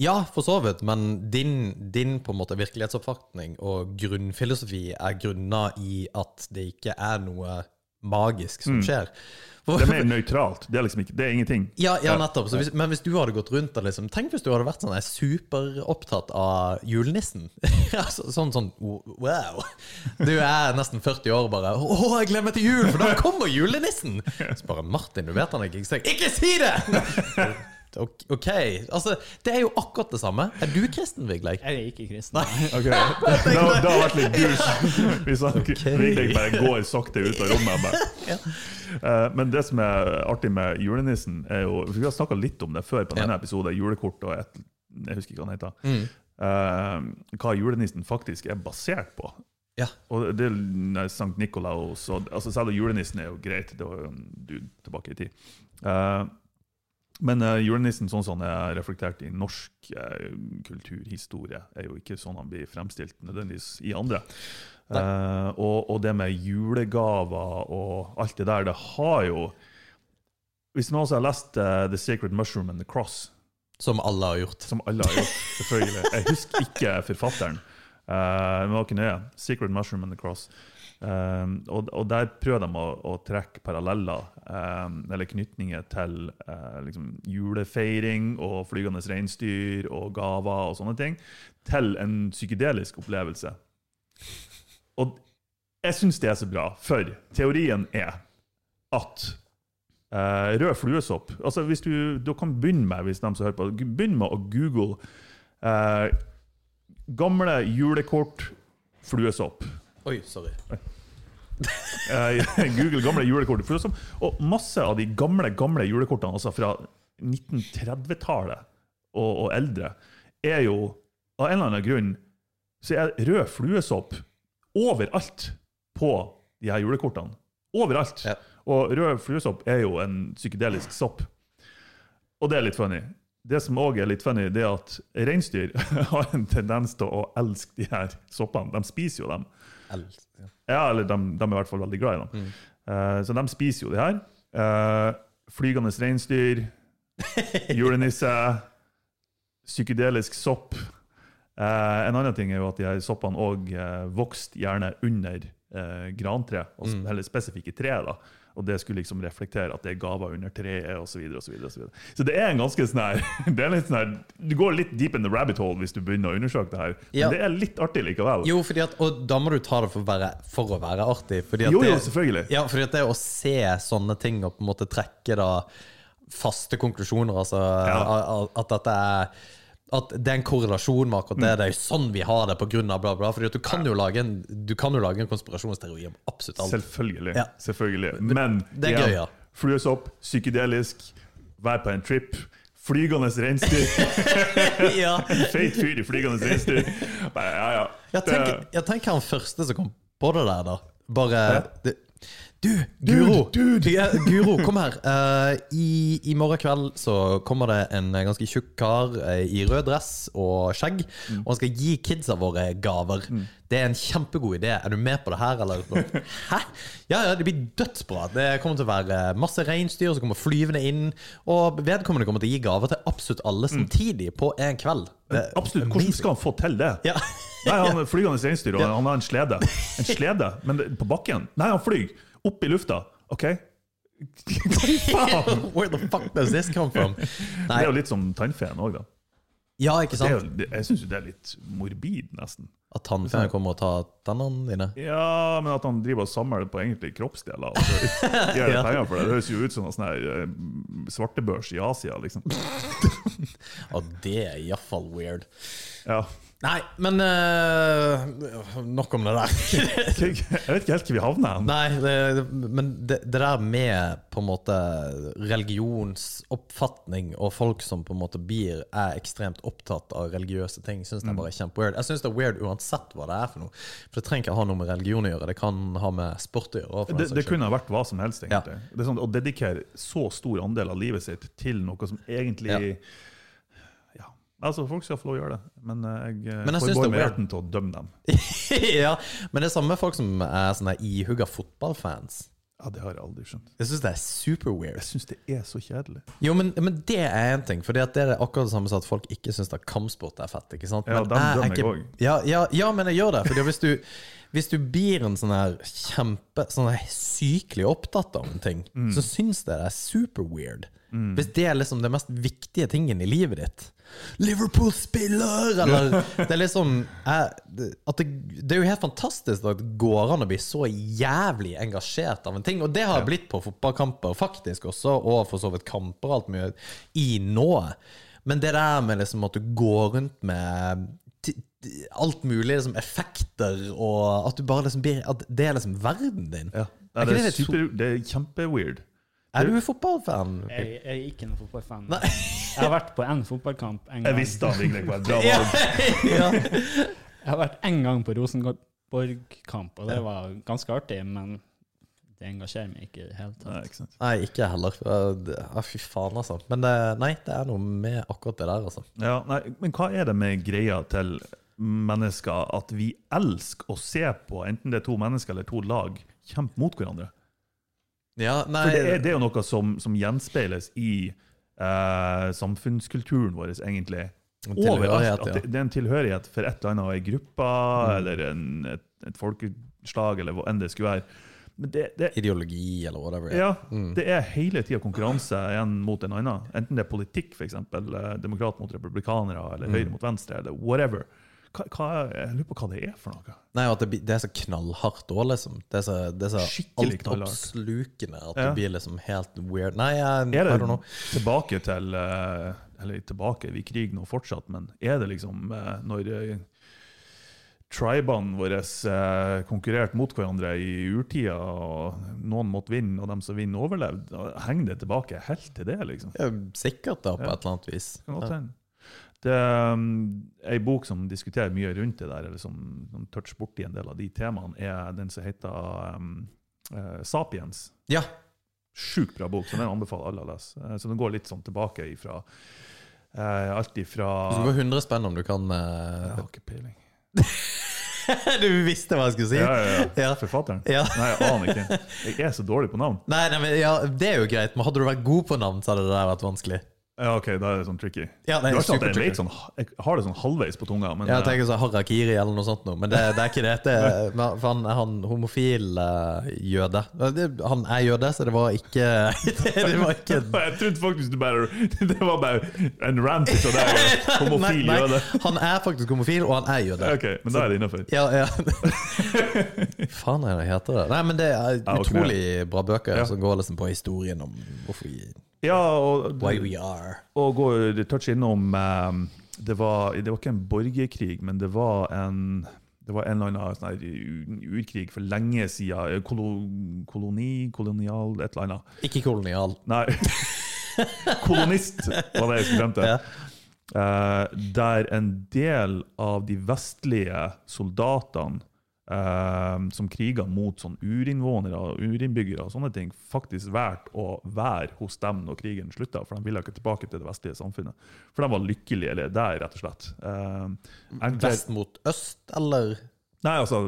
Speaker 1: ja, for så vidt. Men din, din på en måte virkelighetsoppfatning og grunnfilosofi er grunna i at det ikke er noe magisk som skjer. For-
Speaker 2: Mm. Det er mer nøytralt. Det er liksom ikke, det er ingenting.
Speaker 1: Ja, ja, nettopp. Så hvis, men hvis du hadde gått rundt og liksom Tenk hvis du hadde vært sånn der superopptatt av julenissen. Ja, så- sånn sånn wow. Du er nesten 40 år og bare 'Å, jeg glemmer til jul, for da kommer julenissen!' Så bare 'Martin, du vet han ikke eksisterer.' Ikke si det! Ok, OK. Altså, det er jo akkurat det samme. Er du kristen, Vigleik?
Speaker 3: Jeg er ikke kristen.
Speaker 2: Ok, Det det har det har vært litt douche. Hvis han virkelig bare går sakte ut av rommet. Bare. Eh, Men det som er artig med julenissen, er jo for Vi har snakka litt om det før på denne episoden, julekort og et, jeg husker ikke hva han heter. Eh, hva julenissen faktisk er basert på.
Speaker 1: Ja.
Speaker 2: Og det er Sankt Nikolaus og altså Selv om julenissen er jo greit, det var jo en dude tilbake i tid. Eh, men eh, julenissen sånn som han er reflektert i norsk eh, kulturhistorie, er jo ikke sånn han blir fremstilt nødvendigvis i andre. Eh, og, og det med julegaver og alt det der, det har jo Hvis man også har lest eh, The Sacred Mushroom and the Cross,
Speaker 1: Som alle har gjort.
Speaker 2: som alle har gjort, selvfølgelig Jeg husker ikke forfatteren, eh, men det var ikke nøye. Sacred Mushroom and the Cross. Eh, og, og der prøver de å, å trekke paralleller, eh, eller knytninger, til eh, liksom julefeiring og flygende reinsdyr og gaver og sånne ting, til en psykedelisk opplevelse. Og jeg syns det er så bra, for teorien er at eh, rød fluesopp altså hvis du, du kan begynne med hvis de som hører på, gu- begynn med å google eh, gamle julekort fluesopp.
Speaker 1: Oi, sorry.
Speaker 2: Eh, Google gamle julekort. For det er som- og masse av de gamle gamle julekortene altså fra 1930-tallet og, og eldre er jo av en eller annen grunn så er rød fluesopp overalt på de her julekortene. Overalt.
Speaker 1: Ja.
Speaker 2: Og rød fluesopp er jo en psykedelisk sopp. Og det er litt funny. Det som òg er litt funny, det er at reinsdyr har en tendens til å elske de her soppene. De spiser jo dem.
Speaker 1: El-
Speaker 2: Ja, eller de, de er i hvert fall veldig glad i dem.
Speaker 1: Mm.
Speaker 2: Eh, så de spiser jo det her. Eh, flygende reinsdyr, julenisse, psykedelisk sopp. Eh, en annen ting er jo at de her soppene òg vokste gjerne under eh, grantre, altså,
Speaker 1: Mm.
Speaker 2: eller spesifikke tre. da. Og det skulle liksom reflektere at det er gaver under treet osv. Så, videre, og så, videre, og så, videre. så det er en ganske sånn her det er litt sånn her, Du går litt deep in the rabbit hole hvis du begynner å undersøke det her. Men
Speaker 1: Ja.
Speaker 2: det er litt artig likevel.
Speaker 1: Jo, fordi at, og da må du ta det for, å være- for å være artig. Fordi at
Speaker 2: jo, jo
Speaker 1: det-
Speaker 2: selvfølgelig.
Speaker 1: Ja, fordi at det å se sånne ting og på en måte trekke da faste konklusjoner, altså
Speaker 2: Ja.
Speaker 1: at dette er at det er en korrelasjon med akkurat det. Det er jo sånn vi har det pga. bla, bla. Fordi at du kan jo lage en, du kan jo lage en konspirasjonsteori om absolutt alt.
Speaker 2: Selvfølgelig.
Speaker 1: Ja.
Speaker 2: selvfølgelig. Men
Speaker 1: det er
Speaker 2: igjen,
Speaker 1: gøy, ja.
Speaker 2: fluesopp, psykedelisk, vær på en trip. Flygende reinsdyr!
Speaker 1: ja.
Speaker 2: Feit fyr i flygende reinsdyr! Nei, Ja, ja.
Speaker 1: Jeg
Speaker 2: Det-
Speaker 1: tenker, jeg tenker han første som kom på det der, da. Bare det, Du, Guro!
Speaker 2: Dude, dude.
Speaker 1: Ja, Guro, kom her. Eh, i, I morgen kveld så kommer det en ganske tjukk kar eh, i rød dress og skjegg.
Speaker 2: Mm.
Speaker 1: Og han skal gi kidsa våre gaver. Det er en kjempegod idé. Er du med på det her, eller? Hæ? Ja, ja, det blir dødsbra. Det kommer til å være masse reinsdyr som kommer flyvende inn. Og vedkommende kommer til å gi gaver til absolutt alle
Speaker 2: Mm.
Speaker 1: samtidig på en kveld. Det er
Speaker 2: Absolutt. Hvordan skal han få til det?
Speaker 1: Ja.
Speaker 2: Nei, Han er flygende reinsdyr, og han har en slede. En slede, Men det- på bakken? Nei, han flyr. Opp i lufta. OK? Hva i faen?
Speaker 1: Where the fuck does this come from?
Speaker 2: Det er jo
Speaker 1: Nei,
Speaker 2: litt som tannfeen òg, da.
Speaker 1: ja, ikke
Speaker 2: Det er
Speaker 1: sant?
Speaker 2: jo, det, jeg syns jo det er litt morbid, nesten.
Speaker 1: At tannfeen kommer og tar tennene dine.
Speaker 2: Ja, men at han driver og samler på egentlig kroppsdeler og så gir det penger for det. Det høres jo ut som en sånn her eh, svartebørs i Asia, liksom.
Speaker 1: Og det er iallfall weird.
Speaker 2: Ja.
Speaker 1: Nei, men eh, Nok om det der.
Speaker 2: Jeg vet ikke helt hvor vi havner hen.
Speaker 1: Nei, det, men det, det der med på en måte religionsoppfatning og folk som på en måte blir er ekstremt opptatt av religiøse ting, syns jeg bare er kjempeweird. Jeg syns det er weird uansett hva det er for noe. For det trenger ikke ha noe med religion å gjøre, det kan ha med sport å gjøre. også, for
Speaker 2: Det,
Speaker 1: den
Speaker 2: det
Speaker 1: saks skyld.
Speaker 2: kunne ha vært hva som helst. egentlig. Det er sånn, Å dedikere så stor andel av livet sitt til noe som egentlig ja. Altså, Folk skal få lov å gjøre det, men eh, jeg,
Speaker 1: Men jeg
Speaker 2: jeg
Speaker 1: synes det er
Speaker 2: forbeholder meg
Speaker 1: weird.
Speaker 2: retten til å dømme dem.
Speaker 1: ja, men det er samme folk som er sånne ihugga fotballfans.
Speaker 2: Ja, Det har jeg aldri skjønt.
Speaker 1: Jeg syns det er super weird.
Speaker 2: Jeg syns det er så kjedelig.
Speaker 1: Jo, men, men det er én ting. For det er akkurat det samme som at folk ikke syns at kampsport er fett. ikke sant?
Speaker 2: Ja,
Speaker 1: Men
Speaker 2: dem
Speaker 1: jeg er
Speaker 2: dømmer jeg
Speaker 1: ikke-
Speaker 2: også.
Speaker 1: Ja, ja, ja, men jeg gjør det. For hvis du, hvis du blir en sånn her kjempe Sånn her sykelig opptatt av en ting, så syns jeg det er super weird. Hvis det er liksom det mest viktige tingen i livet ditt. Liverpool spiller! Eller Det er liksom jeg, det- at det, det er jo helt fantastisk at det går an å bli så jævlig engasjert av en ting. Og det har jeg blitt på fotballkamper faktisk også, og for så vidt kamper og alt mye i nå. Men det der med liksom at du går rundt med ti- ti- alt mulig liksom effekter, og at du bare liksom blir At det er liksom verden din.
Speaker 2: Ja.
Speaker 1: Er ikke
Speaker 2: Nei, det, er
Speaker 1: det litt
Speaker 2: super, det er kjempeweird.
Speaker 1: Er du fotballfan?
Speaker 3: Jeg, jeg er ikke noen fotballfan. Jeg har vært på én fotballkamp en
Speaker 2: Jeg
Speaker 3: gang.
Speaker 2: visste han egentlig var et bra
Speaker 1: Ja,
Speaker 2: valg.
Speaker 1: ja.
Speaker 3: Jeg har vært én gang på Rosenborg-kamp, og det var ganske artig, men det engasjerer meg ikke i det hele
Speaker 2: Nei,
Speaker 3: tatt.
Speaker 2: ikke sant.
Speaker 1: Nei, ikke jeg heller. Uh, det- ah, Fy faen, altså. Men det, nei, det er noe med akkurat det der, altså.
Speaker 2: Ja, nei, men hva er det med greia til mennesker at vi elsker å se på, enten det er to mennesker eller to lag, kjempe mot hverandre?
Speaker 1: Ja, nei
Speaker 2: For det er, det er jo noe som, som gjenspeiles i eh, samfunnskulturen vår, egentlig.
Speaker 1: En tilhørighet,
Speaker 2: Overalt. At
Speaker 1: ja. Mm.
Speaker 2: det, det er en tilhørighet for et eller annet, ei gruppe eller en, et, et folkeslag, eller hva enn det skulle være. Men det, det,
Speaker 1: Ideologi eller whatever.
Speaker 2: Ja,
Speaker 1: Mm.
Speaker 2: det er hele tida konkurranse en mot en annen. Enten det er politikk, f.eks. Demokrat mot republikanere, eller
Speaker 1: Mm.
Speaker 2: høyre mot venstre, eller whatever. Hva, hva, jeg lurer på hva det er for noe.
Speaker 1: Nei, og at det, blir- det er så knallhardt òg, liksom. Det er så, det er så
Speaker 2: Skikkelig knallhardt.
Speaker 1: altoppslukende at
Speaker 2: Ja.
Speaker 1: det blir liksom helt weird. Nei, jeg,
Speaker 2: Er
Speaker 1: I don't
Speaker 2: det
Speaker 1: know.
Speaker 2: tilbake til eh, Eller tilbake, vi kriger nå fortsatt, men er det liksom eh, når eh, Tribene våre eh, konkurrerte mot hverandre i urtida, og noen måtte vinne, og dem som vinner, overlevde. Henger det tilbake helt til det, liksom?
Speaker 1: Det er jo Sikkert da, på
Speaker 2: Ja.
Speaker 1: et eller annet vis.
Speaker 2: Kan godt hende. Det er um, ei bok som diskuterer mye rundt det der, eller som, som toucher borti en del av de temaene, er den som heter um, eh, Sapiens.
Speaker 1: Ja.
Speaker 2: Sjukt bra bok, så den anbefaler alle å lese. Eh, så den går litt sånn tilbake ifra eh, Alt ifra
Speaker 1: Du skal få 100 spenn om du kan eh,
Speaker 2: Jeg har ikke peiling.
Speaker 1: Du visste hva jeg skulle si!
Speaker 2: Ja, ja, ja.
Speaker 1: Ja.
Speaker 2: Forfatteren?
Speaker 1: Ja.
Speaker 2: Nei, jeg aner ikke. Jeg er så dårlig på navn.
Speaker 1: Nei, nei, men ja, Det er jo greit, men hadde du vært god på navn, så hadde det der vært vanskelig.
Speaker 2: Ja, OK, da er det sånn tricky.
Speaker 1: Ja, nei,
Speaker 2: du har ikke at jeg,
Speaker 1: supertricky.
Speaker 2: vet sånn, jeg har det sånn halvveis på tunga, men
Speaker 1: Ja,
Speaker 2: eh,
Speaker 1: jeg tenker sånn harakiri eller noe sånt, nå, men det, det er ikke det. det er- men for han er han homofil eh, jøde. Det- Han er jøde, så det var ikke Det, det var ikke
Speaker 2: Jeg trodde faktisk du bare Det var bare en rant fra deg. Homofil
Speaker 1: Nei, nei,
Speaker 2: jøde.
Speaker 1: Han er faktisk homofil, og han er jøde.
Speaker 2: Ok, men da er det innafor.
Speaker 1: Ja, ja. Faen er det heter det? Nei, men det er
Speaker 2: Ja, ok.
Speaker 1: utrolig bra bøker
Speaker 2: Ja.
Speaker 1: som går liksom på historien om hvorfor vi
Speaker 2: Ja, og,
Speaker 1: Why we are.
Speaker 2: og går touch innom um, det, var, det var ikke en borgerkrig, men det var en det var en eller annen sånn her u- urkrig for lenge siden. Kolo- Koloni, kolonial, et eller annet.
Speaker 1: Ikke kolonial.
Speaker 2: Nei. Kolonist var det jeg skulle frem til.
Speaker 1: Ja.
Speaker 2: Eh, der en del av de vestlige soldatene eh, som kriger mot sånn urinnvånere og urinnbyggere, og sånne ting, faktisk valgte å være hos dem når krigen slutta. For de ville ikke tilbake til det vestlige samfunnet. For de var lykkelige eller der, rett og slett. Eh, enklere-
Speaker 1: Vest mot øst, eller?
Speaker 2: Nei, altså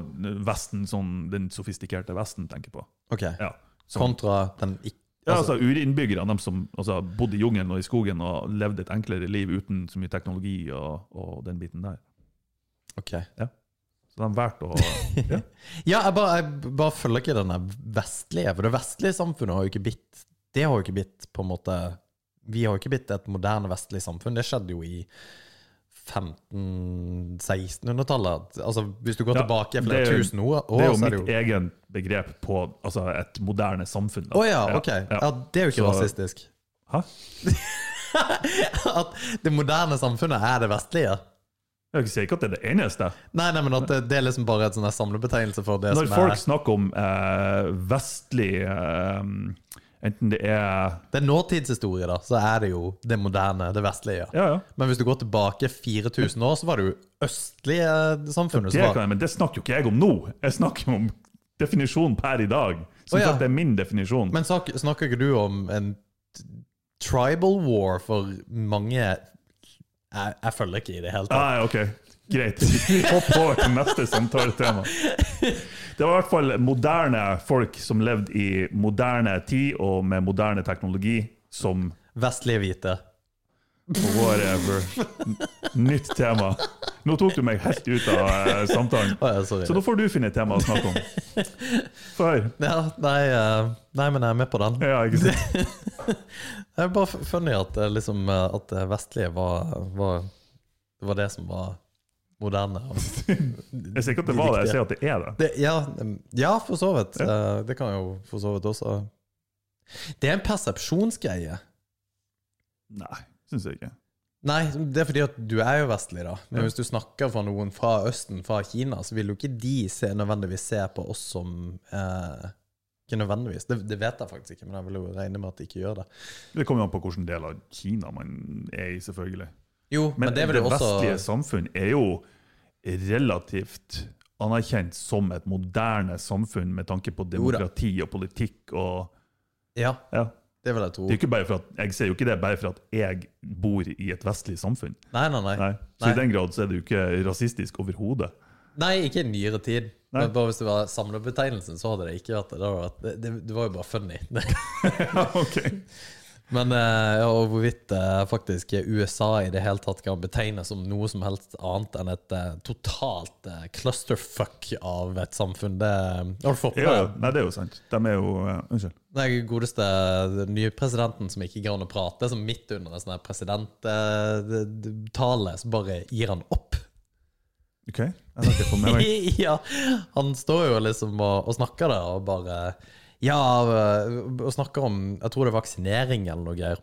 Speaker 2: Vesten, sånn, den sofistikerte Vesten, tenker jeg på.
Speaker 1: Ok.
Speaker 2: Ja, sånn.
Speaker 1: Kontra den ikke
Speaker 2: ja, altså Urinnbyggerne, de som altså, bodde i jungelen og i skogen og levde et enklere liv uten så mye teknologi og, og den biten der.
Speaker 1: Ok.
Speaker 2: Så de valgte å ja.
Speaker 1: Ja, jeg bare, jeg bare følger ikke den der vestlige, for det vestlige samfunnet har jo ikke blitt Det har jo ikke blitt på en måte Vi har jo ikke blitt et moderne vestlig samfunn. Det skjedde jo i 1500-1600-tallet. Altså, hvis du går
Speaker 2: Ja,
Speaker 1: tilbake flere
Speaker 2: det er jo-
Speaker 1: tusen år,
Speaker 2: Det er jo
Speaker 1: så er det
Speaker 2: mitt
Speaker 1: jo
Speaker 2: eget begrep på altså, et moderne samfunn. da.
Speaker 1: Å ja, ok. Ja, det er jo ikke
Speaker 2: Så-
Speaker 1: rasistisk.
Speaker 2: Hæ?
Speaker 1: At det moderne samfunnet er det vestlige.
Speaker 2: Jeg sier ikke at det er det eneste.
Speaker 1: Nei, nei, men at det, det er liksom bare et sånn her samlebetegnelse for det som
Speaker 2: Når folk
Speaker 1: er
Speaker 2: snakker om eh, vestlig eh, Enten det er
Speaker 1: Det er nåtidshistorie, da. Så er det jo det moderne, det vestlige.
Speaker 2: Ja, ja.
Speaker 1: Men hvis du går tilbake 4000 år, så var det jo østlige eh, samfunnet
Speaker 2: Det
Speaker 1: som
Speaker 2: kan
Speaker 1: var
Speaker 2: jeg, men det snakker jo ikke jeg om nå. Jeg snakker om definisjonen per i dag. Som
Speaker 1: Å, ja.
Speaker 2: sagt, det er min definisjon.
Speaker 1: Men snak, snakker ikke du om en t- tribal war for mange jeg, jeg følger ikke i det hele tatt.
Speaker 2: Nei, ok. Greit. Vi hopper over til neste samtaletema. Det var i hvert fall moderne folk som levde i moderne tid og med moderne teknologi, som
Speaker 1: Vestlige hvite.
Speaker 2: whatever. N- Nytt tema. Nå tok du meg helt ut av eh, samtalen.
Speaker 1: Å, ja, sorry.
Speaker 2: Så nå får du finne et tema å snakke om. Få høre.
Speaker 1: Ja, nei, eh, nei, men jeg er med på den.
Speaker 2: Ja, ikke sant?
Speaker 1: Det er bare f- funny at, eh, liksom, eh, at det vestlige var, eh, var, det var det som var moderne. og-
Speaker 2: Jeg sier ikke at det var det, jeg sier at det er det.
Speaker 1: Det, ja, em, ja, for så vidt. Eh, Det kan jeg jo for så vidt også Det er en persepsjonsgreie.
Speaker 2: Nei, syns jeg ikke.
Speaker 1: Nei, det er fordi at du er jo vestlig, da. Men hvis du snakker for noen fra Østen, fra Kina, så vil jo ikke de se, nødvendigvis se på oss som eh, Ikke nødvendigvis, det, det vet jeg faktisk ikke, men jeg vil jo regne med at de ikke gjør det.
Speaker 2: Det kommer jo an på hvilken del av Kina man er i, selvfølgelig.
Speaker 1: Jo, men,
Speaker 2: Men,
Speaker 1: det
Speaker 2: det,
Speaker 1: vil jo også
Speaker 2: vestlige samfunn er jo relativt anerkjent som et moderne samfunn med tanke på
Speaker 1: Jo da.
Speaker 2: demokrati og politikk og
Speaker 1: Ja,
Speaker 2: ja.
Speaker 1: det vil jeg tro.
Speaker 2: det er jo ikke bare for at, Jeg ser jo ikke det bare for at jeg bor i et vestlig samfunn.
Speaker 1: Nei, nei, nei.
Speaker 2: Nei. Så
Speaker 1: Nei.
Speaker 2: i den grad så er det jo ikke rasistisk overhodet.
Speaker 1: Nei, ikke i nyere tid.
Speaker 2: Nei.
Speaker 1: Men bare hvis det var samlebetegnelsen, så hadde det ikke vært det. Det, hadde vært, det, det, det var jo bare funny.
Speaker 2: okay.
Speaker 1: Men eh, ja, og hvorvidt eh, faktisk USA i det hele tatt kan betegnes som noe som helst annet enn et eh, totalt eh, clusterfuck av et samfunn, det eh, har du fått med
Speaker 2: ja, ja. Nei, det er jo sant. De er jo eh, Unnskyld.
Speaker 1: den godeste den nye presidenten som ikke greier å prate, som midt under en sånn her eh, presidenttale, så bare gir han opp.
Speaker 2: OK? Jeg har ikke fått med meg
Speaker 1: ja, han står jo liksom og, og snakker der og bare Ja, og snakker om Jeg tror det er vaksinering eller noe greier.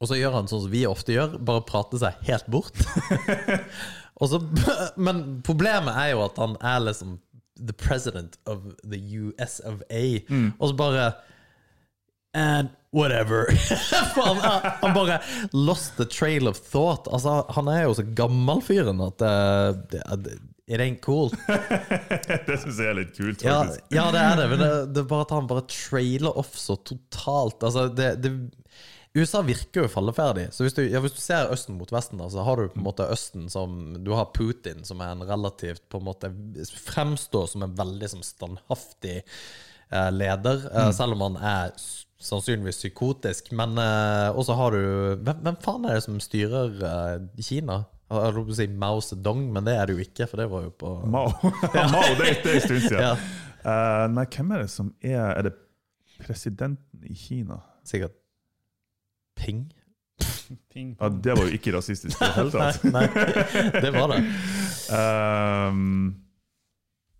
Speaker 1: Og så gjør han sånn som vi ofte gjør, bare prater seg helt bort. og så, men problemet er jo at han er liksom the president of the US of A, og så bare And whatever. For han, er- han bare lost the trail of thought. Altså, han er jo så gammel fyren at eh, det, det, It ain't cool.
Speaker 2: Det syns jeg er litt kult,
Speaker 1: Ja,
Speaker 2: faktisk.
Speaker 1: ja, det er det, men det, det er bare at han bare trailer off så totalt. Altså, det, det USA virker jo falleferdig. Så hvis du, ja, hvis du ser Østen mot Vesten, da, så har du på en måte Østen som Du har Putin, som er en relativt på en måte Fremstår som en veldig som standhaftig eh, leder, eh, selv om han er s- sannsynligvis psykotisk. Men eh, Og så har du hvem, hvem faen er det som styrer eh, Kina? Jeg holdt på å si Mao Zedong, men det er det jo ikke, for det var jo på
Speaker 2: Mao. Mao, det, er- det er en stund siden.
Speaker 1: Ja.
Speaker 2: Eh, nei, hvem er det som er Er det presidenten i Kina?
Speaker 1: Sikkert Ping?
Speaker 3: Ping.
Speaker 2: Ja, det var jo ikke rasistisk i det hele tatt.
Speaker 1: Nei, det var det.
Speaker 2: Ehm,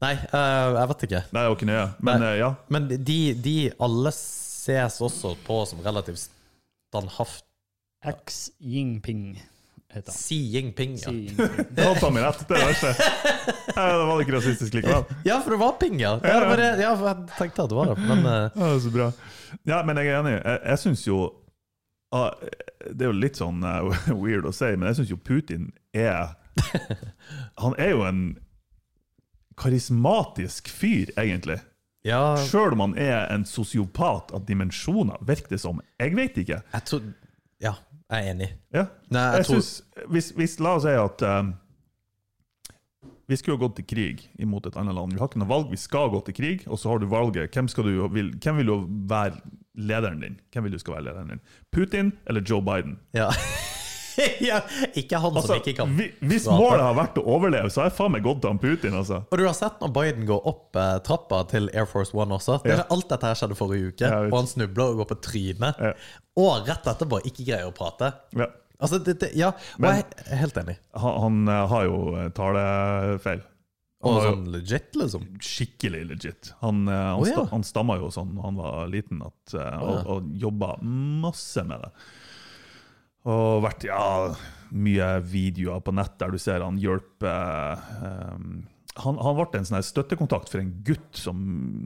Speaker 1: Nei, eh, jeg vet ikke.
Speaker 2: nei, det var ikke nøye. Men
Speaker 1: Nei.
Speaker 2: eh, ja.
Speaker 1: Men de, de alle ses også på som relativt standhaft.
Speaker 3: X Yingping heter han.
Speaker 1: Xi Jinping, ja.
Speaker 3: Xi Jinping.
Speaker 2: Det var faen meg rett. Det er det verste. Nei, det var ikke rasistisk likevel.
Speaker 1: Ja, for det var Ping, ja. Ja, det var det, ja for jeg tenkte at det var det, men eh,
Speaker 2: Ja, så bra. Ja, men jeg er enig. Jeg, jeg syns jo ah, Det er jo litt sånn eh, weird å si, men jeg syns jo Putin er Han er jo en karismatisk fyr, egentlig.
Speaker 1: Ja,
Speaker 2: Sjøl om han er en sosiopat av dimensjoner, virker det som. Jeg vet ikke.
Speaker 1: jeg tror Ja, jeg er enig.
Speaker 2: Ja.
Speaker 1: Nei, jeg
Speaker 2: Jeg
Speaker 1: tror
Speaker 2: synes, hvis, hvis, la oss si at eh, vi skulle jo gått til krig imot et annet land. Vi har ikke noe valg, vi skal gå til krig, og så har du valget. Hvem, skal du, vil, hvem vil du være lederen din? Hvem vil du skal være lederen din? Putin eller Joe Biden?
Speaker 1: ja. ja, ikke han som
Speaker 2: Altså,
Speaker 1: ikke kan
Speaker 2: vi- hvis
Speaker 1: prate.
Speaker 2: målet har vært å overleve, så har jeg faen meg gått til han Putin, altså.
Speaker 1: Og du har sett når Biden går opp eh, trappa til Air Force One også. Det,
Speaker 2: Ja.
Speaker 1: Alt dette her skjedde forrige uke,
Speaker 2: Ja, jeg vet.
Speaker 1: og han snubler og går på trynet.
Speaker 2: Ja.
Speaker 1: Og rett etterpå ikke greier å prate.
Speaker 2: Ja.
Speaker 1: Altså, det, det, ja, og
Speaker 2: Men-
Speaker 1: jeg er helt enig.
Speaker 2: Han, han eh, har jo eh, talefeil. Han
Speaker 1: Og
Speaker 2: har jo-
Speaker 1: sånn legit, liksom.
Speaker 2: skikkelig legit. Han, eh,
Speaker 1: Å,
Speaker 2: han,
Speaker 1: ja.
Speaker 2: sta, han stamma jo sånn da han var liten, at, eh, og,
Speaker 1: ja.
Speaker 2: og jobba masse med det. Og vært ja, mye videoer på nett der du ser han hjelper eh, um, han, han ble en sånn her støttekontakt for en gutt som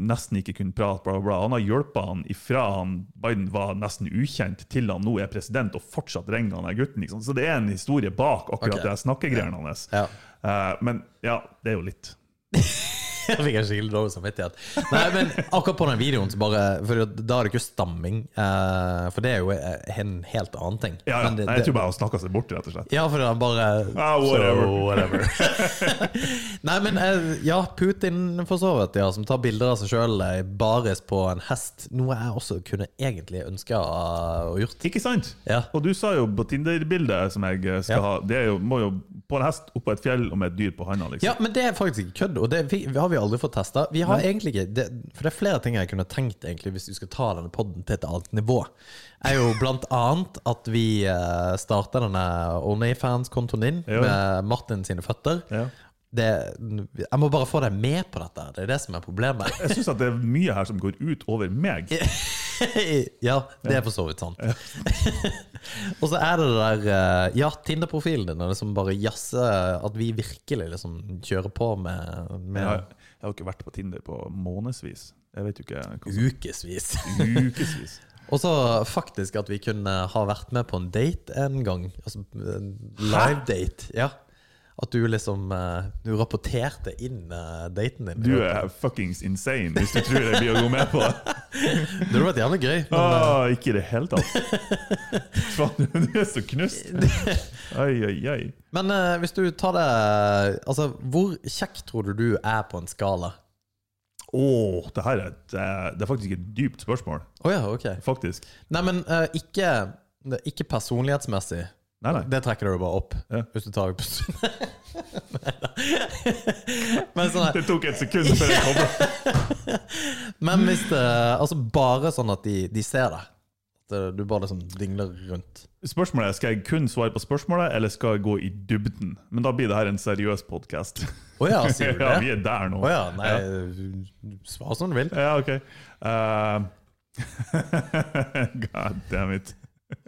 Speaker 2: nesten ikke kunne prate. Bla, bla, bla. Han har hjulpet han ifra han Biden var nesten ukjent, til han nå er president, og fortsatt ringer han her gutten. Ikke sant? Så det er en historie bak akkurat
Speaker 1: Ok.
Speaker 2: det her snakkegreiene hans.
Speaker 1: Ja.
Speaker 2: Eh, men ja, det er jo litt.
Speaker 1: Jeg fikk en skikkelig dårlig samvittighet. Nei, men akkurat på den videoen, så bare For da er det ikke stamming. eh, For det er jo eh, en helt annen ting.
Speaker 2: Ja, ja.
Speaker 1: Men det-
Speaker 2: Nei, jeg tror bare han snakka seg bort, rett og slett.
Speaker 1: Ja, for det er bare
Speaker 2: Ah, whatever.
Speaker 1: So, whatever. Nei, men eh, ja, Putin for så vidt, ja, som tar bilder av seg sjøl baris på en hest. Noe jeg også kunne egentlig ønske å gjort.
Speaker 2: Ikke sant?
Speaker 1: Ja.
Speaker 2: Og du sa jo på Tinder-bildet som jeg eh, skal
Speaker 1: Ja.
Speaker 2: ha Det er jo, må jo på en hest oppå et fjell og med et dyr på handa, liksom.
Speaker 1: Ja, men det er faktisk ikke kødd, og det vi, har vi aldri fått testa. Vi har egentlig ikke det, For det er flere ting jeg kunne tenkt, egentlig, hvis du skal ta denne podden til et annet nivå. Er jo blant annet at vi uh, starta denne Onlyfans-kontoen din
Speaker 2: Ja.
Speaker 1: med Martin sine føtter.
Speaker 2: Ja.
Speaker 1: Det, jeg må bare få deg med på dette. Det er det som er problemet.
Speaker 2: Jeg syns det er mye her som går ut over meg.
Speaker 1: ja, det er for så vidt sant. og så er det det der eh, Ja, Tinder-profilen din, og liksom bare jazze At vi virkelig liksom kjører på med,
Speaker 2: Jeg
Speaker 1: med
Speaker 2: har, jeg har ikke vært på Tinder på månedsvis. Jeg vet jo ikke hva som
Speaker 1: ukevis.
Speaker 2: Ukevis.
Speaker 1: Og så faktisk at vi kunne ha vært med på en date en gang. Altså en live date. Ja. At du liksom eh, Du rapporterte inn eh, daten din.
Speaker 2: Du er fuckings insane hvis du tror jeg blir å gå med på det.
Speaker 1: Det hadde vært jævlig gøy. Men,
Speaker 2: Åh, ikke i det hele tatt. Faen, du er så knust. Oi, oi, oi.
Speaker 1: men eh, hvis du tar det Altså, hvor kjekk tror du du er på en skala?
Speaker 2: Åh, det her er, et, eh, det er faktisk et dypt spørsmål.
Speaker 1: Å ja, ok.
Speaker 2: Faktisk.
Speaker 1: Nei, men eh, ikke, ikke personlighetsmessig.
Speaker 2: Nei, nei.
Speaker 1: Det trekker du bare opp.
Speaker 2: Ja.
Speaker 1: Hvis du tar Nei da. Men sånn her
Speaker 2: Det tok et sekund før jeg kom på
Speaker 1: Men hvis det Altså bare sånn at de, de ser deg. At eh, du bare liksom dingler rundt.
Speaker 2: Spørsmålet er, Skal jeg kun svare på spørsmålet, eller skal jeg gå i dybden? Men da blir det her en seriøs podkast.
Speaker 1: Å ja, sier du
Speaker 2: ja, vi
Speaker 1: det?
Speaker 2: er der nå.
Speaker 1: Å ja, nei
Speaker 2: Ja.
Speaker 1: Svar som du vil.
Speaker 2: Ja, ok. Eh, God damn it.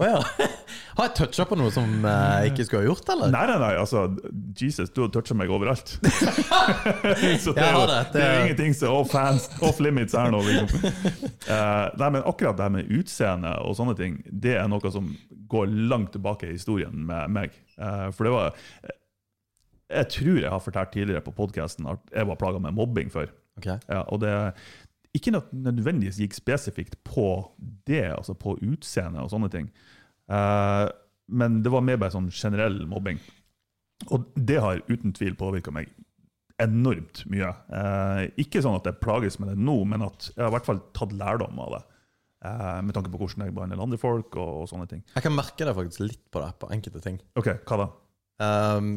Speaker 1: Å ja. Har jeg toucha på noe som jeg ikke skulle ha gjort, eller?
Speaker 2: Nei, nei, nei, altså, Jesus, du har toucha meg overalt. Så
Speaker 1: Jeg
Speaker 2: det er, jo,
Speaker 1: har det, det
Speaker 2: det er jo
Speaker 1: er-
Speaker 2: ingenting som er off hands, off limits her nå. Liksom. Eh, nei, men akkurat det her med utseende og sånne ting, det er noe som går langt tilbake i historien med meg. Eh, for det var Jeg tror jeg har fortalt tidligere på podkasten at jeg var plaga med mobbing før.
Speaker 1: Ok.
Speaker 2: Ja, og det ikke nød- nødvendigvis gikk spesifikt på det, altså på utseende og sånne ting. Eh, men det var mer bare sånn generell mobbing. Og det har uten tvil påvirka meg enormt mye. Eh, ikke sånn at jeg plages med det nå, men at jeg har i hvert fall tatt lærdom av det. Eh, med tanke på hvordan jeg behandler andre folk og, og sånne ting.
Speaker 1: Jeg kan merke det faktisk litt på deg, på enkelte ting.
Speaker 2: Ok, hva da?
Speaker 1: Ehm,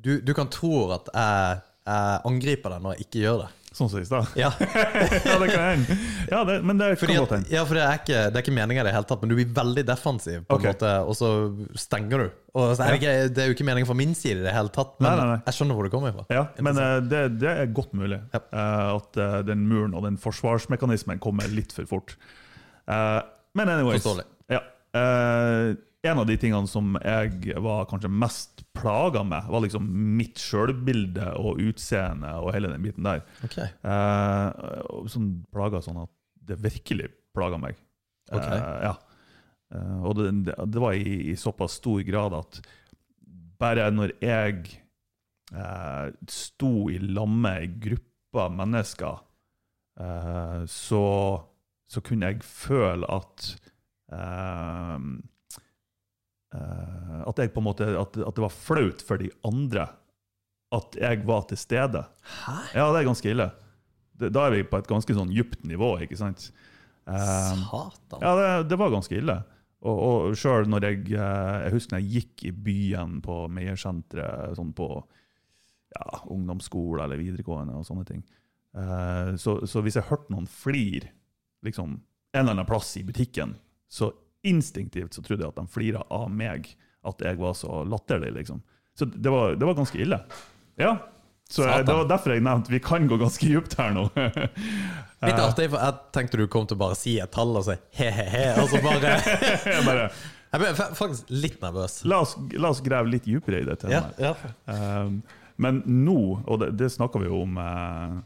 Speaker 1: du, du kan tro at jeg, jeg angriper deg når jeg ikke gjør det.
Speaker 2: Sånn som i stad?
Speaker 1: Ja,
Speaker 2: ja, det kan hende. Ja, det, men det
Speaker 1: fordi
Speaker 2: kan
Speaker 1: at,
Speaker 2: godt hende.
Speaker 1: ja, for det er ikke, det er ikke meninga i det hele tatt, men du blir veldig defensiv, på en
Speaker 2: Ok.
Speaker 1: måte, og så stenger du. Og så er det, ikke, det er jo ikke meninga fra min side i det hele tatt, men
Speaker 2: Nei, nei, nei.
Speaker 1: jeg skjønner hvor det kommer fra.
Speaker 2: Ja, men eh, det, det er godt mulig eh, at eh, den muren og den forsvarsmekanismen kommer litt for fort. Eh, men anyways
Speaker 1: Forståelig.
Speaker 2: Ja, eh, en av de tingene som jeg var kanskje mest plaga med, var liksom mitt sjølbilde og utseende og hele den biten der.
Speaker 1: Ok.
Speaker 2: Eh, og sånn plaga sånn at det virkelig plaga meg.
Speaker 1: Ok.
Speaker 2: Eh, ja. Eh, og det, det var i, i såpass stor grad at bare når jeg eh, sto i lag med ei gruppe mennesker, eh, så, så kunne jeg føle at eh, eh, At jeg på en måte at, at det var flaut for de andre at jeg var til stede.
Speaker 1: Hæ?
Speaker 2: Ja, det er ganske ille. Det, da er vi på et ganske sånn djupt nivå, ikke sant? Eh,
Speaker 1: Satan.
Speaker 2: ja, det, det var ganske ille. Og, og sjøl når jeg eh, Jeg husker når jeg gikk i byen på Meiersenteret, sånn på ja, ungdomsskole eller videregående og sånne ting. Eh, så, så hvis jeg hørte noen flir liksom, en eller annen plass i butikken, så instinktivt så trodde jeg at de flira av meg, at jeg var så latterlig, liksom. Så det var, det var ganske ille. Ja. Så jeg, det var derfor jeg nevnte vi kan gå ganske djupt her nå.
Speaker 1: Litt artig, for jeg tenkte du kom til å bare si et tall og si he-he-he, og så bare
Speaker 2: jeg bare,
Speaker 1: Jeg ble fa- faktisk litt nervøs.
Speaker 2: la, oss, la oss grave litt dypere i det
Speaker 1: Ja,
Speaker 2: temaet.
Speaker 1: ja.
Speaker 2: Um, men nå, og det, det snakka vi jo om eh,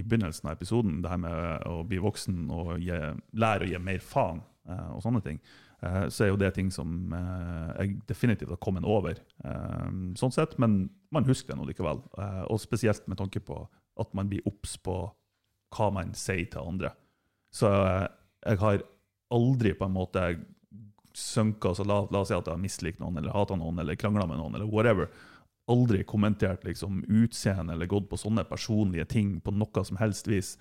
Speaker 2: i begynnelsen av episoden, det her med eh, å bli voksen og gi, lære å gi mer faen eh, og sånne ting, eh, så er jo det ting som eh, jeg definitivt har kommet over. eh, sånn sett, Men man husker det nå likevel. eh, og spesielt med tanke på at man blir obs på hva man sier til andre. Så eh, jeg har aldri på en måte sunket så la, la oss si at jeg har mislikt noen, eller hata noen, eller krangla med noen, eller whatever. Aldri kommentert liksom, utseende eller gått på sånne personlige ting på noe som helst vis.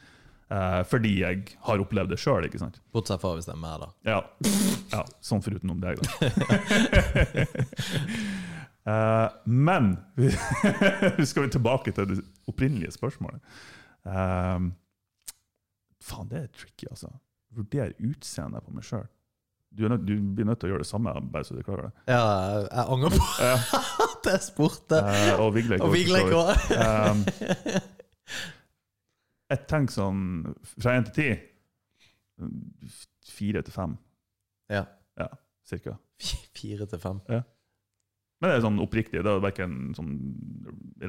Speaker 2: eh, fordi jeg har opplevd det sjøl, ikke sant?
Speaker 1: Bortsett fra hvis det er meg, da.
Speaker 2: Ja. ja sånn foruten om deg, da. Eh, men Nå skal vi tilbake til det opprinnelige spørsmålet. Eh, faen, det er tricky, altså. Vurder utseendet på meg sjøl. Du, er nødt- du blir nødt til å gjøre det samme, bare så du klarer det.
Speaker 1: Ja, jeg- jeg angrer på at jeg spurte.
Speaker 2: Eh, og Vigleik
Speaker 1: Og Vigleik
Speaker 2: også,
Speaker 1: òg.
Speaker 2: for så vidt. Eh, jeg tenker sånn fra én til ti. Fire til fem,
Speaker 1: Ja.
Speaker 2: cirka.
Speaker 1: Fire til fem.
Speaker 2: Men det er sånn oppriktig. Det er verken sånn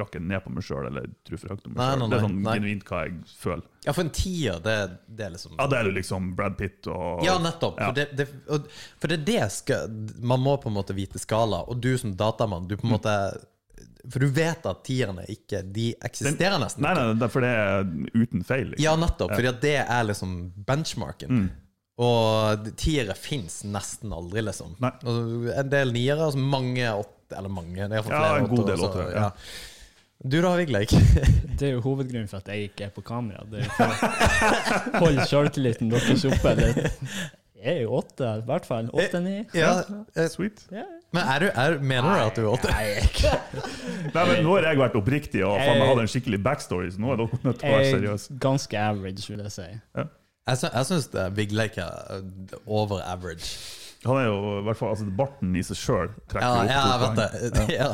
Speaker 2: rakke ned på meg sjøl eller tro for høyt om meg
Speaker 1: Nei,
Speaker 2: sjøl.
Speaker 1: nei,
Speaker 2: Det er sånn
Speaker 1: nei, nei.
Speaker 2: genuint hva jeg føler.
Speaker 1: Ja, for en tier, det, det er liksom
Speaker 2: Ja, det er jo liksom Brad Pitt og
Speaker 1: Ja, nettopp.
Speaker 2: Ja.
Speaker 1: For, det, det, og- for det er det skal, man må på en måte vite skala. Og du som datamann, du på en
Speaker 2: Mm.
Speaker 1: måte For du vet at tierne ikke De eksisterer nesten.
Speaker 2: Nei, nei, nei, for det er uten feil. Liksom.
Speaker 1: Ja, nettopp. Fordi at det er liksom benchmarken.
Speaker 2: Mm.
Speaker 1: Og d- tiere fins nesten aldri, liksom.
Speaker 2: Nei.
Speaker 1: Altså, en del niere, altså mange åtte Eller mange. det er i hvert fall
Speaker 2: Ja,
Speaker 1: flere
Speaker 2: en god del
Speaker 1: også,
Speaker 2: åttere, ja.
Speaker 1: Du da, Vigleik?
Speaker 3: Det er jo hovedgrunnen for at jeg ikke er på kamera. Det er jo for å holde sjøltilliten deres oppe litt. Jeg er jo åtte, i hvert fall. Åtte-ni.
Speaker 1: ja, eh,
Speaker 2: Sweet.
Speaker 3: Ja.
Speaker 1: men er du, er, mener du at du er åtte?
Speaker 3: Nei, jeg,
Speaker 2: Nei, men Nå har jeg vært oppriktig og faen, jeg hadde en skikkelig backstory, så nå er dere nødt til å være
Speaker 3: jeg er
Speaker 2: seriøse.
Speaker 3: ganske average, vil jeg si.
Speaker 1: Jeg, sy jeg syns Vigleik er eh, over average.
Speaker 2: Han er jo i hvert fall, altså Barten i seg sjøl
Speaker 1: Ja,
Speaker 2: trekker
Speaker 1: ja, jeg
Speaker 2: opp
Speaker 1: vet det. Ja.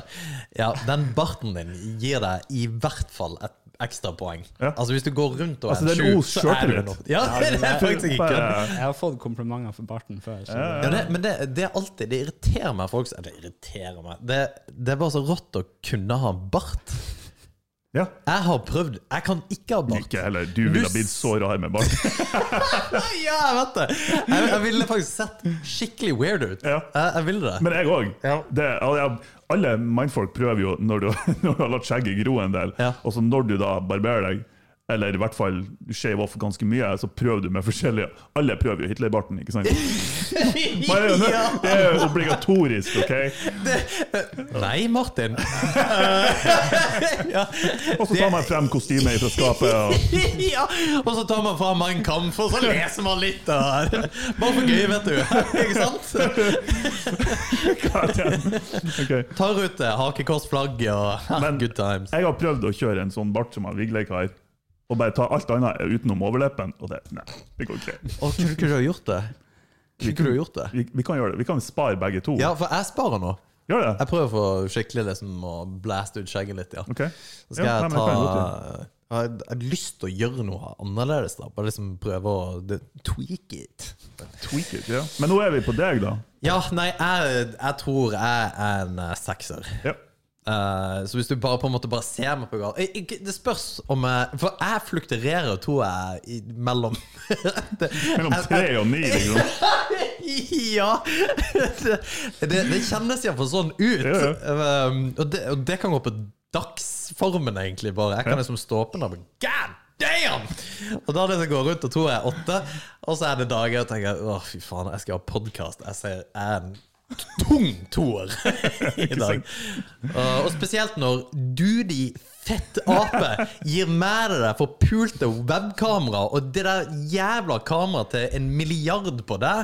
Speaker 1: ja, den barten din gir deg i hvert fall et ekstra poeng.
Speaker 2: Ja.
Speaker 1: Altså Hvis du går rundt og
Speaker 2: Altså, det er
Speaker 1: en sju,
Speaker 2: en os
Speaker 1: så er du
Speaker 2: sjøltillit.
Speaker 1: noe. Ja, det er faktisk ikke kødd.
Speaker 3: Jeg har fått komplimenter for barten før. Så
Speaker 1: Ja, det, men det, det er alltid Det irriterer meg folk som- Det irriterer meg det, det er bare så rått å kunne ha en bart
Speaker 2: Ja,
Speaker 1: Jeg har prøvd Jeg kan ikke ha bart
Speaker 2: ikke heller. Du ville ha blitt så rar med bart.
Speaker 1: Ja, jeg vet det Jeg, jeg ville faktisk sett skikkelig weird ut
Speaker 2: Ja.
Speaker 1: jeg, jeg ville det
Speaker 2: Men jeg òg. Alle mindfolk prøver jo, når du, når du har latt skjegget gro en del,
Speaker 1: Ja.
Speaker 2: og så når du da barberer deg, eller i hvert fall shave off ganske mye, så prøver du med forskjellige Alle prøver jo Hitlerbarten, ikke sant? Man er jo nødt-
Speaker 1: ja.
Speaker 2: Det er jo obligatorisk, OK?
Speaker 1: Nei, Martin ja.
Speaker 2: Og så tar man frem kostymet fra skapet. Og,
Speaker 1: ja. Og så tar man fra meg en kamp Og så leser man litt av det. Bare for gøy, vet du Ikke sant?
Speaker 2: Ok.
Speaker 1: Tar ut det, hakekorsflagg og
Speaker 2: Men-
Speaker 1: good times
Speaker 2: Jeg har prøvd å kjøre en sånn bart som han Vigleik har, og bare ta alt annet utenom overleppen, og det Nei, det går ikke.
Speaker 1: Å, kunne ikke du ha gjort det? Kunne ikke du ha gjort det?
Speaker 2: Vi, vi kan gjøre det. Vi kan spare begge to.
Speaker 1: Ja, for jeg sparer nå.
Speaker 2: Gjør det?
Speaker 1: Jeg prøver å få skikkelig liksom å blaste ut skjegget litt, ja.
Speaker 2: OK.
Speaker 1: Så skal
Speaker 2: Ja,
Speaker 1: jeg
Speaker 2: nei, men
Speaker 1: ta
Speaker 2: det kan jeg godt gjøre.
Speaker 1: jeg har, jeg har lyst til å gjøre noe annerledes, da. Bare liksom prøve å det, tweak it.
Speaker 2: Tweak it, ja. Men nå er vi på deg, da.
Speaker 1: Ja, nei, jeg, jeg tror jeg er en eh, sekser.
Speaker 2: Ja.
Speaker 1: Eh, så hvis du bare på en måte bare ser meg på gata Jeg- jeg- Det spørs om jeg For jeg flukturerer, tror jeg, i, mellom det,
Speaker 2: Mellom
Speaker 1: jeg-
Speaker 2: tre og ni, liksom.
Speaker 1: ja! Det, det, det kjennes iallfall sånn ut.
Speaker 2: Ja,
Speaker 1: Um, og, det, og det kan gå på dagsformen, egentlig, bare. Jeg kan liksom stå opp en dag og bare, God damn! Og da er det som går rundt og tror jeg er åtte, og så er det dager jeg tenker Å, fy faen, jeg skal ha podkast. Jeg ser jeg er en tung toer i dag. Eh, Og- og spesielt når du, de fett ape, gir med deg det forpulte webkameraet og det der jævla kameraet til en milliard på deg.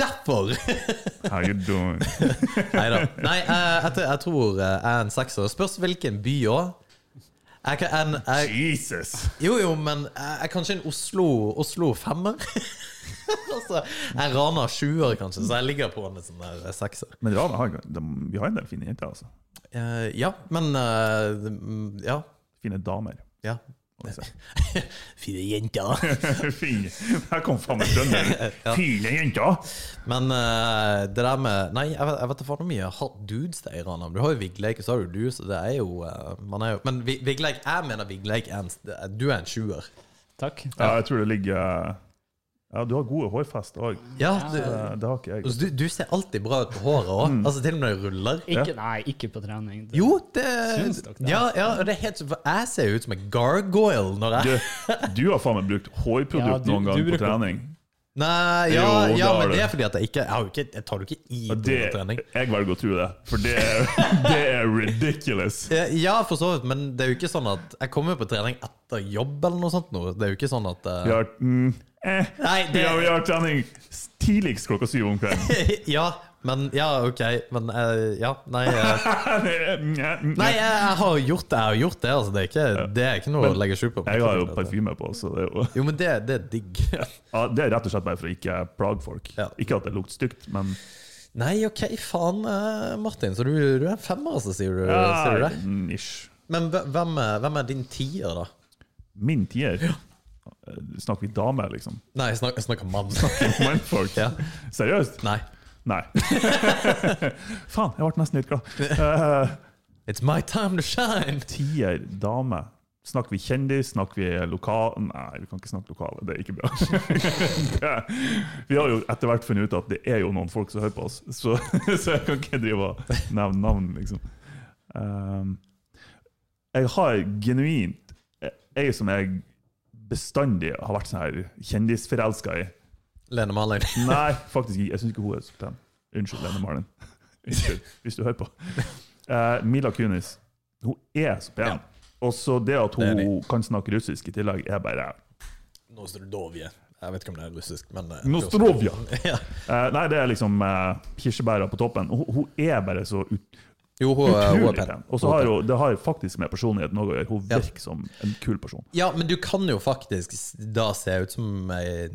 Speaker 1: Derfor!
Speaker 2: How you doing?
Speaker 1: Neida. Nei da. Jeg, jeg tror eh, jeg er en sekser. Spørs hvilken by òg. Jeg kan, en, jeg,
Speaker 2: Jesus!
Speaker 1: jo, jo, men jeg jeg er kanskje en Oslo, Oslo femmer. altså, jeg raner sjuer, kanskje, så jeg ligger på en sånn der sekser.
Speaker 2: Men Rana har, de, vi har en del fine jenter, altså.
Speaker 1: Eh, ja, men eh, mm, Ja.
Speaker 2: Fine damer.
Speaker 1: ja.
Speaker 2: altså.
Speaker 1: Fine jenter.
Speaker 2: Fine. Her kom faen meg trønderen. Fine jenter!
Speaker 1: Men eh, det der med Nei, jeg vet, jeg vet da faen hvor mye hot dudes det er i Rana. Du har jo Vigleik, og så har du du, så det er jo, eh, man er jo Men Vi- Vigleik, jeg mener Vigleik er en Du er en sjuer.
Speaker 3: Takk.
Speaker 2: Ja, jeg tror det ligger Ja, du har gode hårfest òg.
Speaker 1: Ja, du,
Speaker 2: Det har ikke jeg.
Speaker 1: altså, du, du ser alltid bra ut på håret òg.
Speaker 2: Mm.
Speaker 1: Altså, til og med når du ruller.
Speaker 3: Ikke, nei, ikke på trening. Det-
Speaker 1: Jo, det,
Speaker 3: Syns dere det?
Speaker 1: ja, ja, og det er helt for Jeg ser jo ut som en gargoyle når jeg
Speaker 2: Du, du har faen meg brukt hårprodukt
Speaker 3: Ja, du-
Speaker 2: noen gang
Speaker 3: du
Speaker 2: på
Speaker 3: bruker-
Speaker 2: trening.
Speaker 1: Nei, ja,
Speaker 2: Jo,
Speaker 1: ja
Speaker 2: det har
Speaker 1: men
Speaker 2: du.
Speaker 1: det er fordi at jeg ikke Jeg, har jo ikke, jeg tar jo ikke i
Speaker 2: Og
Speaker 1: på
Speaker 2: Det,
Speaker 1: grunn av trening.
Speaker 2: jeg velger å tro det, for det, det er ridiculous.
Speaker 1: Eh, Ja, for så vidt, men det er jo ikke sånn at jeg kommer jo på trening etter jobb eller noe sånt. nå. Det er jo ikke sånn at eh,
Speaker 2: Vi har, mm, eh,
Speaker 1: Nei, det-
Speaker 2: vi har, vi har trening tidligst klokka syv om kvelden.
Speaker 1: Ja, men Ja, OK, men eh, Ja, nei eh,
Speaker 2: Mm, eh, mm,
Speaker 1: Nei,
Speaker 2: eh.
Speaker 1: jeg, jeg har gjort det, jeg har gjort det. Altså, det, er ikke, det er ikke noe å legge skjul på.
Speaker 2: Jeg har jo parfyme på, så det er jo
Speaker 1: Jo, men det, det er digg.
Speaker 2: ja, Det er rett og slett bare for å ikke plage folk.
Speaker 1: Ja.
Speaker 2: Ikke at det lukter stygt, men
Speaker 1: Nei, OK, faen, eh, Martin. Så du, du er en femmer, altså, sier du, sier du det?
Speaker 2: mm, ish.
Speaker 1: Men hve- hvem er, hvem er din tier, da?
Speaker 2: Min tier Eh, Snakker vi damer, liksom?
Speaker 1: Nei, jeg snakker, jeg snakker mann.
Speaker 2: Mannfolk?
Speaker 1: Ja.
Speaker 2: Seriøst?
Speaker 1: Nei.
Speaker 2: Nei. Faen, jeg ble nesten litt glad. Eh,
Speaker 1: It's my time to shine!
Speaker 2: tier dame. Snakker vi kjendis? Snakker vi lokal... Nei, vi kan ikke snakke lokale. Det er ikke bra. Det- vi har jo etter hvert funnet ut at det er jo noen folk som hører på oss, så, så jeg kan ikke drive og nevne navn, liksom. Um, jeg har genuint Ei som jeg bestandig har vært sånn her kjendisforelska i.
Speaker 1: Lene Marlin.
Speaker 2: Nei, faktisk ikke. Jeg syns ikke hun er så pen. Unnskyld, Lene Marlin. Unnskyld, hvis du hører på. Eh, Mila Kunis. Hun er så pen.
Speaker 1: Ja.
Speaker 2: Og så det at hun
Speaker 1: Det er
Speaker 2: kan snakke russisk i tillegg, er bare
Speaker 1: Nostrodovje. Jeg vet ikke om det er russisk, men eh,
Speaker 2: Nostrovja!
Speaker 1: ja.
Speaker 2: Eh, nei, det er liksom eh, kirsebæra på toppen. Hun, hun er bare så ut,
Speaker 1: Jo, hun, er- hun
Speaker 2: utrolig
Speaker 1: er pen.
Speaker 2: pen. Og så har hun, det har faktisk med personligheten noe å gjøre. Hun
Speaker 1: Ja.
Speaker 2: virker som en kul person.
Speaker 1: Ja, men du kan jo faktisk s- da se ut som ei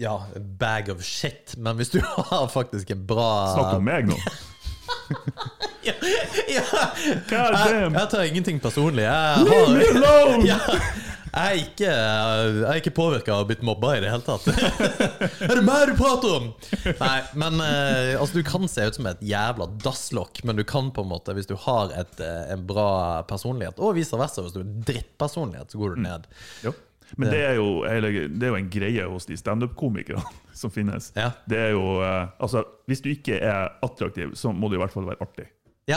Speaker 1: ja, bag of shit, men hvis du har faktisk en bra
Speaker 2: Snakk om meg nå!
Speaker 1: ja, ja.
Speaker 2: God
Speaker 1: Jeg,
Speaker 2: damn!
Speaker 1: jeg tar ingenting personlig. Jeg
Speaker 2: Leave me
Speaker 1: har
Speaker 2: alone!
Speaker 1: ja, jeg er ikke, jeg er ikke påvirka av å blitt mobba i det hele tatt. er det meg du prater om?! Nei, men eh, altså, du kan se ut som et jævla dasslokk, men du kan på en måte, hvis du har et, eh, en bra personlighet, og vice versa, hvis du har en drittpersonlighet, så går du ned.
Speaker 2: Jo. Men det er, jo, hele- det er jo en greie hos de standup-komikerne som finnes.
Speaker 1: Ja.
Speaker 2: Det er jo, eh, altså, hvis du ikke er attraktiv, så må du i hvert fall være artig.
Speaker 1: Ja,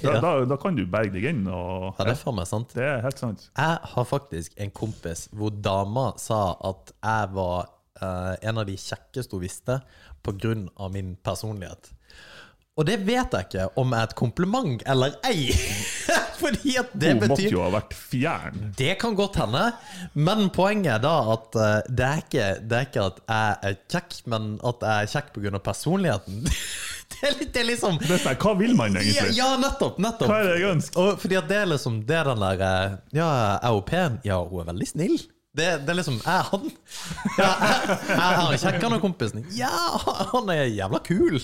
Speaker 2: Da, da, da kan du berge deg inn. Og,
Speaker 1: ja det er faen meg sant.
Speaker 2: det er helt sant.
Speaker 1: Jeg har faktisk en kompis hvor dama sa at jeg var eh, en av de kjekkeste hun visste pga. min personlighet. Og det vet jeg ikke om er et kompliment eller ei. Fordi at det
Speaker 2: Hun måtte
Speaker 1: betyr
Speaker 2: jo ha vært fjern.
Speaker 1: Det kan godt hende, men poenget er da at eh, det, er ikke, det er ikke at jeg er kjekk, men at jeg er kjekk pga. personligheten. Det er, litt, det er liksom
Speaker 2: Det er sånn, hva vil man
Speaker 1: ja,
Speaker 2: egentlig?
Speaker 1: ja, nettopp! nettopp.
Speaker 2: Hva er det jeg ønsker?
Speaker 1: Og fordi at det er liksom Det er den der eh, Ja, er hun pen? Ja, hun er veldig snill. Det, det er liksom Er han Ja, er, er han kjekkere enn kompisen din? Ja, han er jævla kul!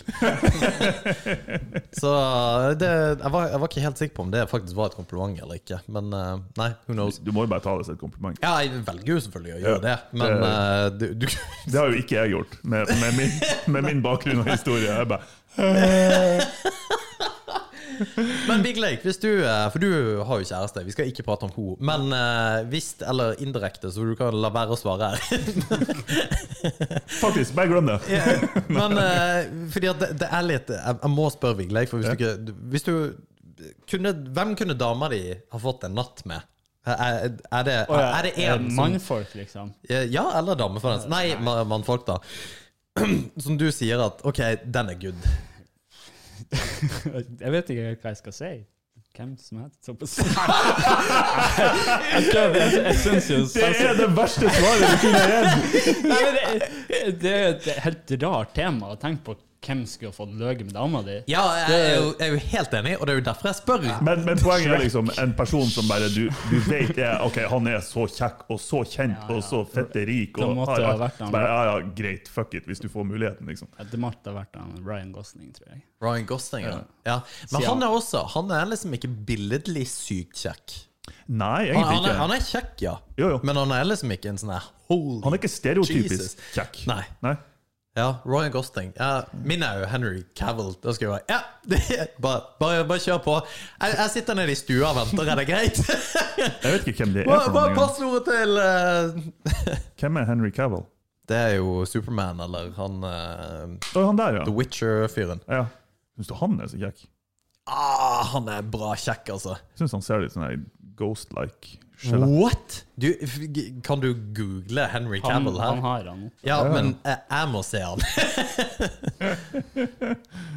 Speaker 1: Så det, jeg, var, jeg var ikke helt sikker på om det faktisk var et kompliment eller ikke. Men eh, nei, who knows.
Speaker 2: Du må jo bare ta det som et kompliment.
Speaker 1: Ja, jeg velger jo selvfølgelig å gjøre det,
Speaker 2: Ja,
Speaker 1: men
Speaker 2: det-
Speaker 1: eh, du, du
Speaker 2: Det har jo ikke jeg gjort, med, med, min, med min bakgrunn og historie. Jeg bare,
Speaker 1: Men Big Lake, hvis du eh, For du har jo kjæreste, vi skal ikke prate om henne. Men eh, hvis, eller indirekte, så du kan la være å svare her.
Speaker 2: faktisk, bare glem det!
Speaker 1: Men eh, fordi at det, det er litt Jeg, jeg må spørre Big Lake, for hvis du ikke Hvis du kunne, hvem kunne dama di ha fått en natt med? Er, er det
Speaker 3: Å ja,
Speaker 1: er det en
Speaker 3: eh,
Speaker 1: som
Speaker 3: Mannfolk, liksom.
Speaker 1: Ja, eller dame, for den saks- Nei, ma- mannfolk, da. Som du sier at OK, den er good.
Speaker 3: Jeg vet ikke hva jeg skal si. Hvem som helst. Så på jeg kødder, jeg, jeg syns jo altså-
Speaker 2: Det er det verste svaret du kunne gitt!
Speaker 3: Nei, men det, det er jo et helt rart tema å tenke på hvem skulle ha fått løye med dama di.
Speaker 1: Ja, jeg er, jo, jeg er jo helt enig, og det er jo derfor jeg spør.
Speaker 2: Men, men poenget er liksom en person som bare du, du vet er Ok, han er så kjekk og så kjent
Speaker 3: ja.
Speaker 2: og så fette rik
Speaker 3: Da
Speaker 2: og
Speaker 3: måtte
Speaker 2: har
Speaker 3: det ha
Speaker 2: alt.
Speaker 3: vært han.
Speaker 2: Bare, ja, ja, greit, fuck it, hvis du får muligheten, liksom.
Speaker 3: Ja, Det måtte ha vært han, Ryan Gosling, tror jeg.
Speaker 1: Ryan Gosling, ja. ja. Men
Speaker 3: Sier han.
Speaker 1: han er også Han er liksom ikke billedlig sykt kjekk.
Speaker 2: Nei,
Speaker 1: Han,
Speaker 2: egentlig
Speaker 1: han, er,
Speaker 2: ikke.
Speaker 1: han er kjekk, ja,
Speaker 2: Jo, jo.
Speaker 1: men han er liksom ikke en sånn her holy
Speaker 2: Han er ikke stereotypisk
Speaker 1: Jesus.
Speaker 2: kjekk.
Speaker 1: Nei.
Speaker 2: Nei.
Speaker 1: Ja, Ryan Gosling. Ja, min er jo Henry Cavill. Da skal jeg bare Ja, det er, bare, bare, bare kjør på. Jeg, jeg sitter nede i stua og venter, er det greit?
Speaker 2: Jeg vet ikke hvem det er.
Speaker 1: Bare,
Speaker 2: for
Speaker 1: bare
Speaker 2: noen gang.
Speaker 1: passordet til eh,
Speaker 2: Hvem er Henry Cavill?
Speaker 1: Det er jo Superman, eller han eh,
Speaker 2: Å, han der, ja.
Speaker 1: The Witcher-fyren.
Speaker 2: ja. Syns du han er så kjekk?
Speaker 1: Ah, han er bra kjekk, altså.
Speaker 2: Syns han ser litt sånn her ghost-like skjelett.
Speaker 1: What?! Du, f- g- kan du google Henry
Speaker 3: Han,
Speaker 1: Cavill her?
Speaker 3: han har han nå.
Speaker 1: Ja,
Speaker 2: Ja, ja.
Speaker 1: men jeg, jeg må se han.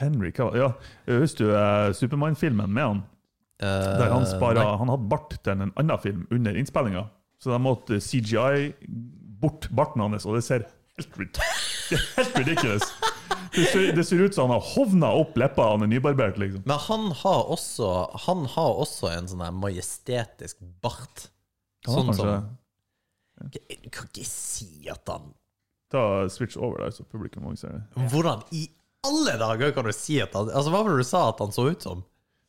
Speaker 2: Henry Cavill, ja. Husker du eh, Supermann-filmen med han?
Speaker 1: Eh,
Speaker 2: Der han spara Han hadde bart til en annen film under innspillinga, så de måtte CGI bort barten hans, og det ser helt, rid- det er helt ridiculous det ser, det ser ut som han har hovna opp leppa, han er nybarbert, liksom.
Speaker 1: Men han har også Han har også en sånn her majestetisk bart.
Speaker 2: Han
Speaker 1: Sånn
Speaker 2: har kanskje
Speaker 1: som Jeg kan ikke si at han
Speaker 2: Ta switch over der, så publikum også ser det.
Speaker 1: Hvordan i alle dager kan du si at han Altså, hva var det du sa at han så ut som?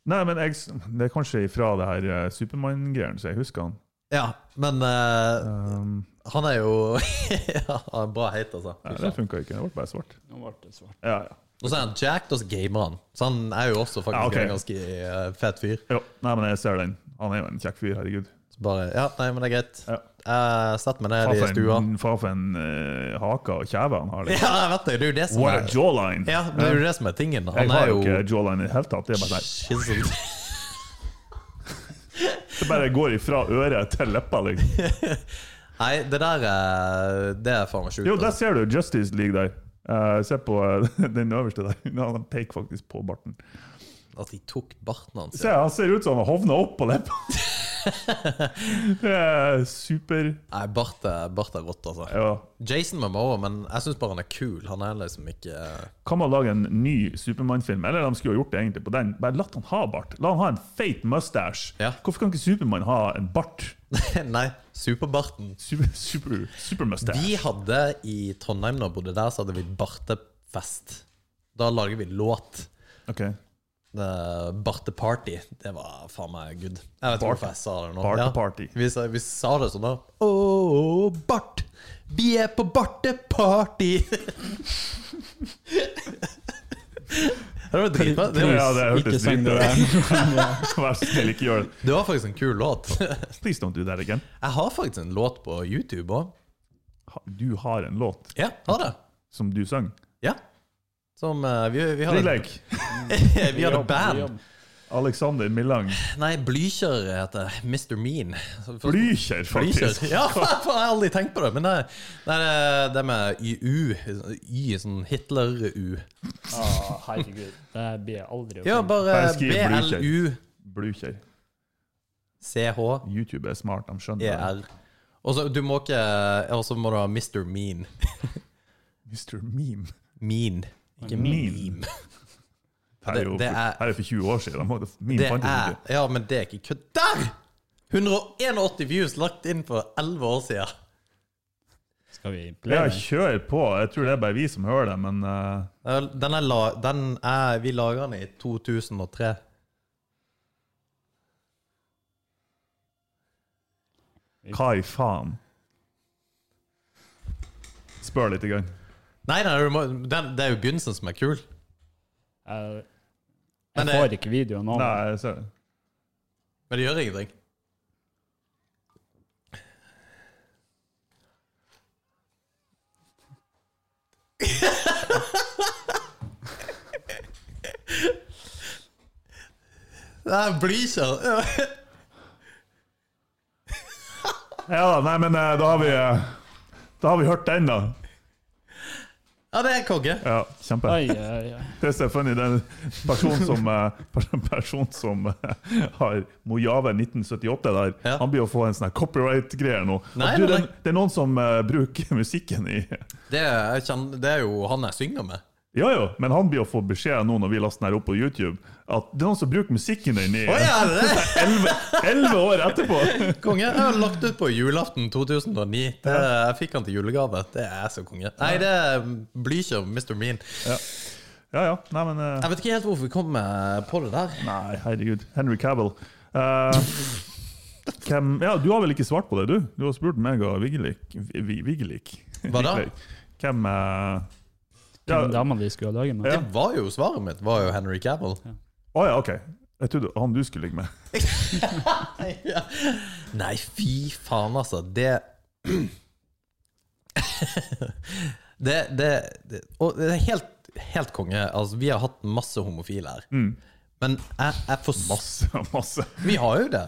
Speaker 2: Nei, men jeg, s- det er kanskje ifra det her eh, Supermann-greiene, så jeg husker han.
Speaker 1: Ja, men eh,
Speaker 2: Um,
Speaker 1: han er jo ja, han er bra heit, altså.
Speaker 2: nei, det funka ikke, det ble bare svart.
Speaker 3: Nå ble det svart.
Speaker 2: Ja, ja.
Speaker 1: Og så er han jacked, og så gamer han. Så han er jo også faktisk
Speaker 2: Ja, ok.
Speaker 1: en ganske eh, fet fyr.
Speaker 2: Jo, nei, men jeg ser den. Han er jo en kjekk fyr, herregud.
Speaker 1: Så bare Ja, nei, men det er greit.
Speaker 2: Ja.
Speaker 1: Jeg setter meg
Speaker 2: Faen
Speaker 1: ned i
Speaker 2: for
Speaker 1: stua.
Speaker 2: en, faen for en eh, hake og kjeve han
Speaker 1: Ja,
Speaker 2: har. Liksom.
Speaker 1: jeg vet det. Det er jo det som
Speaker 2: What a
Speaker 1: er
Speaker 2: jawline!
Speaker 1: Ja, det er jo det som er tingen.
Speaker 2: Jeg
Speaker 1: Han
Speaker 2: har
Speaker 1: er
Speaker 2: jo
Speaker 1: jo
Speaker 2: ikke jawline i det hele tatt. Det, er bare, sånn-
Speaker 1: chiseled.
Speaker 2: det bare går ifra øret til leppa. Liksom.
Speaker 1: Nei, det der eh, Det er faen meg sjukt.
Speaker 2: Jo, der
Speaker 1: altså.
Speaker 2: ser du Justice League der. Eh, se på eh, den øverste der. Nå, han peker faktisk på barten.
Speaker 1: At de tok barten hans.
Speaker 2: Se, han ser ut som han har hovna opp på leppa! det er super
Speaker 1: Nei, bart er, bart er rått, altså.
Speaker 2: Ja.
Speaker 1: Jason Momoa, men jeg syns bare han er kul. Han er liksom ikke
Speaker 2: Kan man lage en ny Supermann-film? Eller de skulle jo gjort det egentlig på den. Bare la han ha bart. La han ha en feit mustache.
Speaker 1: Ja.
Speaker 2: Hvorfor kan ikke Supermann ha en bart?
Speaker 1: eh, Nei, superbarten.
Speaker 2: Super, super, supermustache.
Speaker 1: Vi hadde i Trondheim, da jeg bodde der, så hadde vi bartefest. Da lager vi låt.
Speaker 2: Ok.
Speaker 1: Eh, Barteparty. Det var faen meg good. Jeg vet ikke
Speaker 2: Bart-
Speaker 1: hvorfor jeg sa det nå.
Speaker 2: Barteparty.
Speaker 1: Ja, vi, sa, vi sa det sånn, da. Ååå, Bart! Vi er på barteparty! det var dritbra. Det, var-
Speaker 2: Ja, det
Speaker 3: Ikke
Speaker 2: hørtes
Speaker 3: sang
Speaker 2: dritt
Speaker 3: det
Speaker 2: ut.
Speaker 3: der.
Speaker 2: Vær så snill, ikke gjør det.
Speaker 1: det var faktisk en kul låt.
Speaker 2: Please don't do that again.
Speaker 1: Jeg har faktisk en låt på YouTube òg.
Speaker 2: Ha- Du har en låt
Speaker 1: Ja, har det.
Speaker 2: som du sang.
Speaker 1: Ja. Som eh, vi, vi har
Speaker 2: Rilek.
Speaker 1: Vi hadde band.
Speaker 2: Alexander Millang.
Speaker 1: Nei, Blykjer heter det. Mr. Mean.
Speaker 2: Blykjer, faktisk.
Speaker 1: Blykjer. Ja, faen, jeg har aldri tenkt på det. Men det, det, er eh, det med YU, Y, sånn Hitler-U
Speaker 3: Å, Ah, herregud. Det blir jeg aldri å
Speaker 1: Ja,
Speaker 3: finne.
Speaker 1: bare
Speaker 2: Jeg skriver Blykjer.
Speaker 1: BLU-CH-ER.
Speaker 2: Blykjer. YouTube er smart, de skjønner det.
Speaker 1: E Og så du må ikke Og så må du ha Mr. Mean.
Speaker 2: Mr. Meme.
Speaker 1: Mean. Ikke
Speaker 2: Mean.
Speaker 1: meme.
Speaker 2: Her er jo
Speaker 1: Det- det
Speaker 2: for,
Speaker 1: er-
Speaker 2: her er for 20 år siden. De hadde- Meme
Speaker 1: Det
Speaker 2: fantes
Speaker 1: er
Speaker 2: ikke.
Speaker 1: Ja, men det er ikke kødd. Der! 181 views lagt inn for 11 år siden.
Speaker 3: Skal vi
Speaker 2: Ja,
Speaker 3: play den?
Speaker 2: kjør på. Jeg tror det er bare vi som hører det, men eh,
Speaker 1: Eh, Den er, la, den er Vi lager den i 2003.
Speaker 2: hva i faen? Spør litt. Grann.
Speaker 1: Nei, nei du må, den, det er jo begynnelsen som er kul.
Speaker 3: Jeg,
Speaker 1: Men eh,
Speaker 3: jeg
Speaker 1: det-
Speaker 3: får ikke videoen nå.
Speaker 2: Nei, jeg ser det.
Speaker 1: Men det gjør ingenting. Nei, Blykjell.
Speaker 2: Ja da, nei, men eh, da har vi eh, Da har vi hørt den, da.
Speaker 1: Ja, det er konge.
Speaker 2: Ja, kjempe.
Speaker 3: Ai, ai, ai.
Speaker 2: Det er så funny. Det er en person som, eh, pers- person som eh, har Mojave 1978 der,
Speaker 1: Ja.
Speaker 2: han blir å få en sånn her copyright-greie nå. At
Speaker 1: Nei,
Speaker 2: du,
Speaker 1: nei,
Speaker 2: det, det er noen som eh, bruker musikken i
Speaker 1: Det er, jeg kjenner, det er jo han jeg synger med.
Speaker 2: Ja jo, men han blir å få beskjed nå når vi laster den her opp på YouTube, at det er noen som bruker musikken din i
Speaker 1: Å ja, er det det?
Speaker 2: elleve år etterpå!
Speaker 1: Konge. Jeg har lagt ut på julaften 2009. Det, jeg fikk han til julegave. Det er så konge. Nei, det er Blykjell, Mr. Mean.
Speaker 2: Ja ja, nei, men eh,
Speaker 1: Jeg vet ikke helt hvorfor vi kom eh, på det der.
Speaker 2: Nei, herregud. Henry Cavill. Eh, hvem, ja, du har vel ikke svart på det, du? Du har spurt meg og Vigelik. Vi- Vigelik.
Speaker 1: Hva da?
Speaker 2: Vigelik. Hvem eh, ja,
Speaker 3: Den dama vi skulle ha laget med.
Speaker 2: Ja.
Speaker 1: Det var jo svaret mitt, var jo Henry Cavill.
Speaker 2: Å ja, OK. Jeg trodde han du skulle ligge med.
Speaker 1: Ja. Nei, fy faen, altså. Det det, det, det Og det er helt, helt konge. Altså, vi har hatt masse homofile her.
Speaker 2: Mm.
Speaker 1: Men jeg, jeg forstår
Speaker 2: Masse, masse.
Speaker 1: Vi har jo det.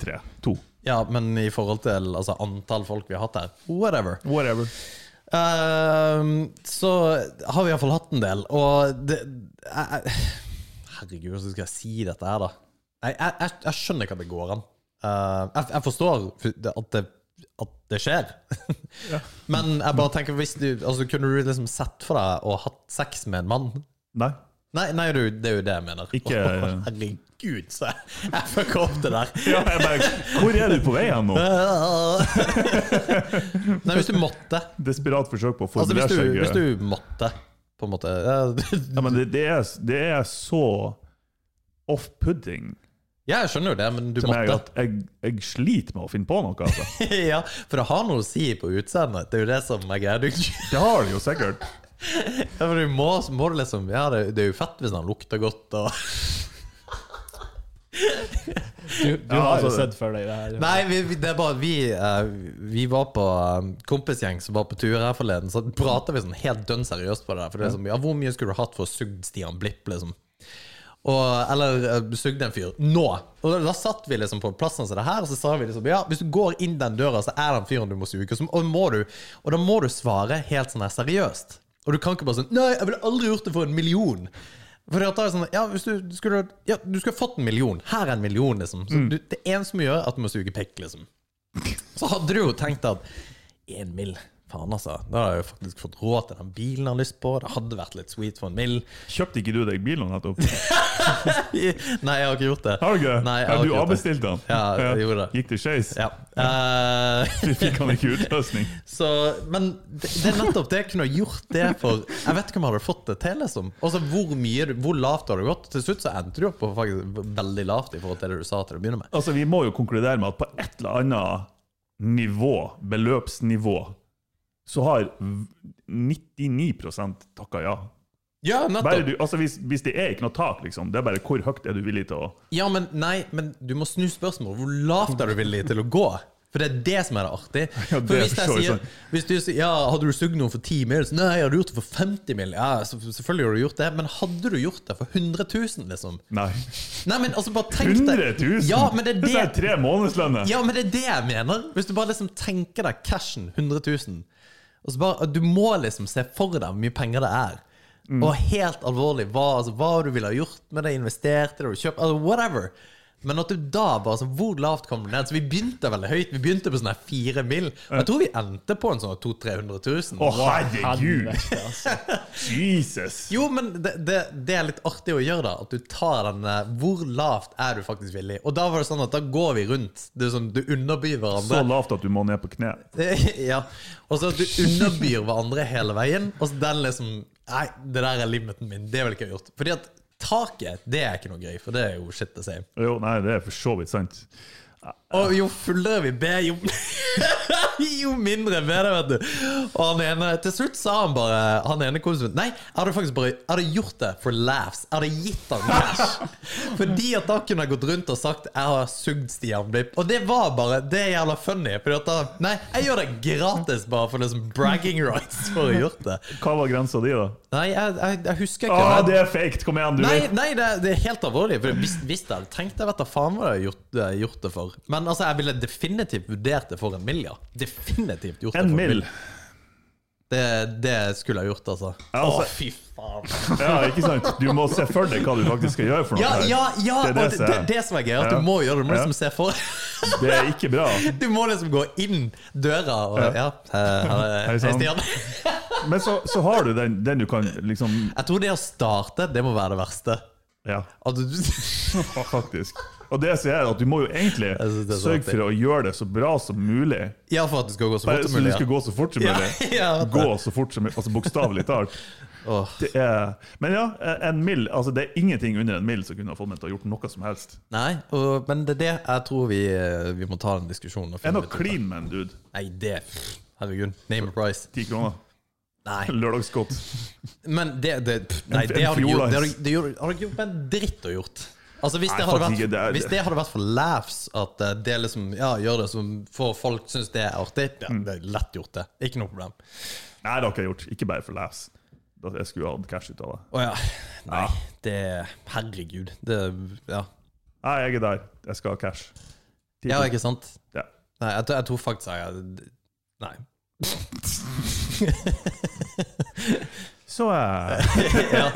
Speaker 2: Tre. To.
Speaker 1: Ja, men i forhold til altså, antall folk vi har hatt her, whatever.
Speaker 2: Whatever.
Speaker 1: Ehm, så har vi iallfall hatt en del, og det jeg, jeg, Herregud, hvordan skal jeg si dette her, da? Jeg, jeg, jeg, jeg skjønner hva det går an. Eh, jeg, jeg forstår at det, at det skjer. Men jeg bare tenker hvis du, altså, Kunne du liksom sett for deg og hatt sex med en mann?
Speaker 2: Nei.
Speaker 1: Nei, nei du, det er jo det jeg mener.
Speaker 2: Ikke-
Speaker 1: Å, herregud, så jeg, jeg fucka opp det der.
Speaker 2: Ja, jeg bare, hvor er du på vei hen nå?
Speaker 1: Nei, hvis du måtte.
Speaker 2: Desperat forsøk på å
Speaker 1: Altså,
Speaker 2: formulere
Speaker 1: hvis du,
Speaker 2: seg. eh.
Speaker 1: hvis du måtte, på en måte
Speaker 2: Ja,
Speaker 1: Ja,
Speaker 2: men det, det, er, det er så off-pudding
Speaker 1: jeg skjønner jo det, men du
Speaker 2: til meg
Speaker 1: måtte.
Speaker 2: at jeg, jeg sliter med å finne på noe. altså.
Speaker 1: ja, for det har noe å si på utseendet. Det er jo det som er greia. Du, ja,
Speaker 2: Det har det jo sikkert.
Speaker 1: for du må, må du liksom Ja, det, det er jo fett hvis han lukter godt og
Speaker 3: Du, du
Speaker 2: Ja,
Speaker 3: har jo
Speaker 2: altså-
Speaker 3: sett for deg det her.
Speaker 1: Nei, vi, vi, det er bare vi eh, Vi var på eh, kompisgjeng som var på tur her forleden, så prata vi sånn helt dønn seriøst på det der. For det er sånn, ja, hvor mye skulle du hatt for å sugd Stian Blipp, liksom? Og, eller uh, sugd en fyr. Nå! Og da, da satt vi liksom på plassen som det her, og så sa vi liksom ja, hvis du går inn den døra, så er den fyren du må suge. Og, så, og, må du, og da må du svare helt sånn her seriøst. Og du kan ikke bare sånn Nei, jeg ville aldri gjort det for en million. For det er sånn, ja, hvis du skulle, ja, du skulle fått en million. Her er en million, liksom. Så du, det eneste vi gjør, er at du må suge pikk, liksom. Så hadde du jo tenkt at én mil, faen altså. Da har jeg jo faktisk fått råd til den bilen jeg har lyst på. Det hadde vært litt sweet for en mil.
Speaker 2: Kjøpte ikke du deg bil nå nettopp?
Speaker 1: Nei, jeg har ikke gjort det.
Speaker 2: Har du ikke?
Speaker 1: Nei, jeg
Speaker 2: ja,
Speaker 1: har
Speaker 2: du
Speaker 1: ikke gjort det.
Speaker 2: avbestilte den?
Speaker 1: Ja, jeg gjorde det.
Speaker 2: Gikk det skeis?
Speaker 1: Ja. Eh,
Speaker 2: Du fikk han ikke utløsning?
Speaker 1: så, men det, det er nettopp det jeg kunne ha gjort det for Jeg vet ikke om jeg hadde fått det til. liksom Altså Hvor mye, du- hvor lavt har du gått? Til slutt så endte du opp på faktisk veldig lavt i forhold til det du sa til å begynne med.
Speaker 2: Altså, Vi må jo konkludere med at på et eller annet nivå, beløpsnivå, så har v- 99 takka ja.
Speaker 1: Ja,
Speaker 2: Bare
Speaker 1: nettopp.
Speaker 2: du, altså hvis, hvis det er ikke noe tak, liksom, det er bare hvor høyt er du villig til å
Speaker 1: Ja, men nei, men du må snu spørsmålet. Hvor lavt er du villig til å gå? For det er det som er det artige.
Speaker 2: Ja,
Speaker 1: For
Speaker 2: det
Speaker 1: hvis, jeg
Speaker 2: forstår jeg
Speaker 1: sier, hvis du sier ja, hadde du sugd noen for 10 mil, så nei, jeg hadde gjort det for 50 mil. Ja, så, selvfølgelig har du gjort det, men hadde du gjort det for 100 000, liksom?
Speaker 2: Nei.
Speaker 1: Nei, men altså, bare tenk
Speaker 2: 100 000!
Speaker 1: Ja, men det er
Speaker 2: er
Speaker 1: det,
Speaker 2: tre månedslønner!
Speaker 1: ja, men det, er det jeg mener. Hvis du bare liksom tenker deg cashen, 100 000, og så bare, du må liksom se for deg hvor mye penger det er. Og helt alvorlig, hva, altså, hva du ville ha gjort med det, investert i det, kjøpt, altså, whatever. Men at du da bare sånn, Hvor lavt kom du ned? Så vi begynte veldig høyt. Vi begynte på sånn her fire mil. Og jeg tror vi endte på en sånn 200 000-300 000.
Speaker 2: Å, herregud!
Speaker 3: Helvete, altså.
Speaker 2: Jesus!
Speaker 1: Jo, men det, det, det er litt artig å gjøre, da. At du tar den eh, Hvor lavt er du faktisk villig? Og da var det sånn at da går vi rundt. Det er sånn, Du underbyr
Speaker 2: Så
Speaker 1: hverandre.
Speaker 2: lavt at du må ned på kne.
Speaker 1: ja. Og så at du underbyr hverandre hele veien. Og så den liksom Nei, det der er limiten min. Det vil ikke jeg ha gjort. Fordi at taket, det er ikke noe gøy, for det er jo shit the same.
Speaker 2: Jo, nei, det er for så vidt sant.
Speaker 1: Og jo fullere vi ber, jo, jo mindre ber det, vet du. Og han ene, til slutt sa han bare Han ene kompisen min Nei, jeg hadde faktisk bare Jeg hadde gjort det for laughs. Jeg hadde gitt han cash. Fordi at da kunne jeg gått rundt og sagt Jeg har sugd Stian Blipp. Og det var bare Det er jævla funny. Fordi at da Nei, jeg gjør det gratis bare for liksom bragging rights for å ha gjort det.
Speaker 2: Hva var grensa di, da?
Speaker 1: Nei, jeg, jeg, jeg husker ikke.
Speaker 2: Ah,
Speaker 1: Jeg-
Speaker 2: det er fake! Kom igjen, du!
Speaker 1: Nei, nei det, er, det er helt alvorlig. For hvis, hvis jeg hadde tenkt det, vet da faen hva jeg hadde gjort, jeg gjort det for. Men altså, jeg ville definitivt vurdert det for en mill, ja. Definitivt gjort det
Speaker 2: En
Speaker 1: for
Speaker 2: mil.
Speaker 1: Det, det skulle jeg gjort, altså.
Speaker 2: Ja, altså-
Speaker 1: Å, fy faen.
Speaker 2: Ja, ikke sant? Du må se for deg hva du faktisk skal gjøre. for noe
Speaker 1: Ja,
Speaker 2: her.
Speaker 1: ja, ja!
Speaker 2: Det er det
Speaker 1: og det,
Speaker 2: som
Speaker 1: det,
Speaker 2: er-
Speaker 1: det som er gøy, at
Speaker 2: Ja.
Speaker 1: du må gjøre det. Du må
Speaker 2: Ja.
Speaker 1: liksom se for
Speaker 2: Det er ikke bra.
Speaker 1: Du må liksom gå inn døra og Ja. eh,
Speaker 2: Hei
Speaker 1: Hei,
Speaker 2: sann.
Speaker 1: Stian.
Speaker 2: Men så, så har du den, den du kan liksom
Speaker 1: Jeg tror det å starte, det må være det verste.
Speaker 2: Ja,
Speaker 1: At du
Speaker 2: faktisk. Og det som er at du må jo egentlig
Speaker 1: Jeg synes det er så
Speaker 2: sørge for å gjøre det så bra som mulig.
Speaker 1: Ja, for at det skal gå så
Speaker 2: Bare
Speaker 1: fort
Speaker 2: Så
Speaker 1: som
Speaker 2: du
Speaker 1: mulig. Ja.
Speaker 2: skal gå så fort som
Speaker 1: Ja,
Speaker 2: mulig.
Speaker 1: ja, vet du.
Speaker 2: Gå så fort som mulig, altså bokstavelig talt.
Speaker 1: Åh.
Speaker 2: Det er, men ja, en mil, altså det er ingenting under en mil som kunne ha fått meg til å ha gjort noe som helst.
Speaker 1: Nei, og, men det er det jeg tror vi, eh, vi må ta en diskusjon. og
Speaker 2: Jeg er
Speaker 1: finne
Speaker 2: nok
Speaker 1: ut av.
Speaker 2: clean med en dude.
Speaker 1: Nei, det pff, Herregud. Name a price.
Speaker 2: Ti kroner.
Speaker 1: Nei.
Speaker 2: Lørdagsgodt.
Speaker 1: Men det, det, pff, nei,
Speaker 2: En-
Speaker 1: det
Speaker 2: en
Speaker 1: hadde du gjort.
Speaker 2: fjordlaks.
Speaker 1: Det hadde, det gjorde- hadde du ikke gjort en dritt å gjort. Altså Hvis
Speaker 2: Nei,
Speaker 1: det, hadde
Speaker 2: faktisk ikke,
Speaker 1: vært,
Speaker 2: det er-
Speaker 1: hvis det hadde vært for laughs, at eh, det liksom Ja, gjør det som for folk syns det er artig, ja,
Speaker 2: Mm.
Speaker 1: det er lett gjort, det. Ikke noe problem.
Speaker 2: Nei, det har ikke jeg gjort. Ikke bare for laughs. Da- Jeg skulle hatt cash ut av det.
Speaker 1: Å ja. Nei, det Herregud. Det Ja,
Speaker 2: Nei, jeg er der. Jeg skal ha cash. Ti
Speaker 1: ja
Speaker 2: kroner.
Speaker 1: ikke sant?
Speaker 2: Ja.
Speaker 1: Nei, jeg, tror- jeg tror faktisk jeg Nei.
Speaker 2: Så eh,
Speaker 1: ja.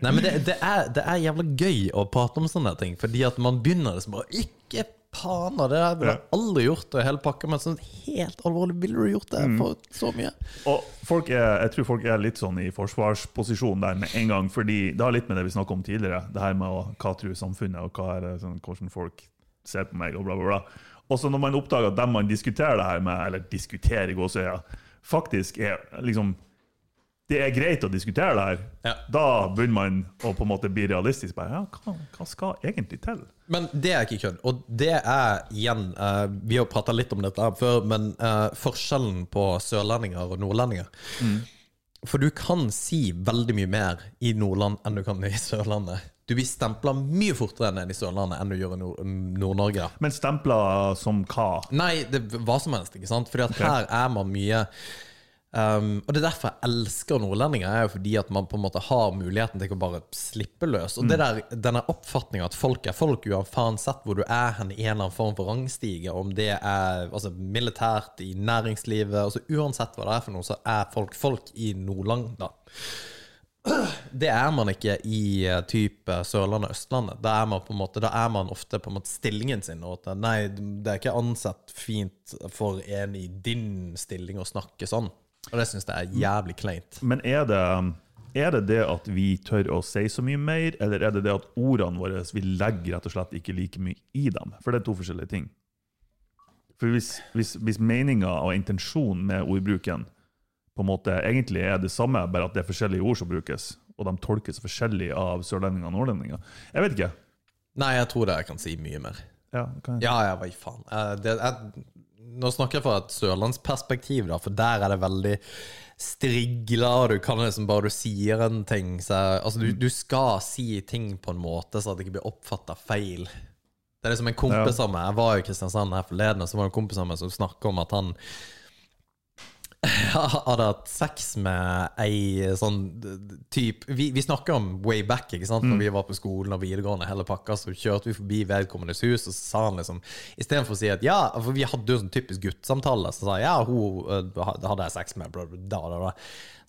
Speaker 1: Nei, men det, det, er, det er jævla gøy å prate om sånne ting, fordi at man begynner liksom bare Ikke faen, og det der ville jeg aldri gjort, og hele pakka, men sånn helt alvorlig, ville du gjort det for så mye?
Speaker 2: Og folk er, jeg tror folk er litt sånn i forsvarsposisjon der med en gang, fordi det har litt med det vi snakket om tidligere, det her med å, hva tror samfunnet, og hva er det, sånn, hvordan folk ser på meg, og bla, bla, bla. Og så når man oppdager at dem man diskuterer det her med, eller diskuterer i gåseøya, faktisk er liksom Det er greit å diskutere det her.
Speaker 1: Ja.
Speaker 2: Da begynner man å på en måte bli realistisk. Bare, ja, hva, hva skal egentlig til?
Speaker 1: Men det er ikke kødd. Og det er igjen eh, Vi har prata litt om dette her før, men eh, forskjellen på sørlendinger og nordlendinger For du kan si veldig mye mer i Nordland enn du kan i Sørlandet. Du blir stempla mye fortere ned i Sørlandet enn du gjør i Nord- Nord-Norge.
Speaker 2: Men stempler som hva?
Speaker 1: Nei, det hva som helst, ikke sant? Fordi at her er man mye um, Og det er derfor jeg elsker nordlendinger, er jo fordi at man på en måte har muligheten til å bare slippe løs. Og det der, denne oppfatninga at folk er folk, uansett hvor du er hen i en eller annen form for rangstige, om det er altså, militært, i næringslivet, altså uansett hva det er for noe, så er folk folk i Nordland, da. Det er man ikke i eh, type Sørlandet og Østlandet. Da er man, på en måte, da er man ofte på en måte stillingen sin. Og at eh, nei, det er ikke ansett fint for en i din stilling å snakke sånn. Og det syns jeg er jævlig kleint.
Speaker 2: Men er det, er det det at vi tør å si så mye mer, eller er det det at ordene våre vi legger rett og slett ikke like mye i dem? For det er to forskjellige ting. For hvis, hvis, hvis meninga og intensjonen med ordbruken på en måte egentlig er det samme, bare at det er forskjellige ord som brukes, og de tolkes forskjellig av sørlendinger og nordlendinger Jeg vet ikke.
Speaker 1: Nei, jeg tror det jeg kan si mye mer.
Speaker 2: Ja, kan jeg-
Speaker 1: Ja, ja, hva i faen. Eh, Det, jeg, nå snakker jeg fra et sørlandsperspektiv, da, for der er det veldig strigla, og du kan liksom bare du sier en ting så er, Altså, du, du skal si ting på en måte så at det ikke blir oppfatta feil. Det er liksom en kompis av meg Jeg var jo i Kristiansand her forleden, og så var det en kompis av meg som snakka om at han hadde hatt sex med ei sånn type vi, vi snakker om way back, ikke sant? Når vi var på skolen og videregående, hele pakka, så kjørte vi forbi vedkommendes hus, og så sa han liksom Istedenfor å si at ja, for vi hadde jo sånn typisk guttsamtale, så sa jeg ja, hun eh, hadde jeg sex med, bla, bla, bla, bla, bla.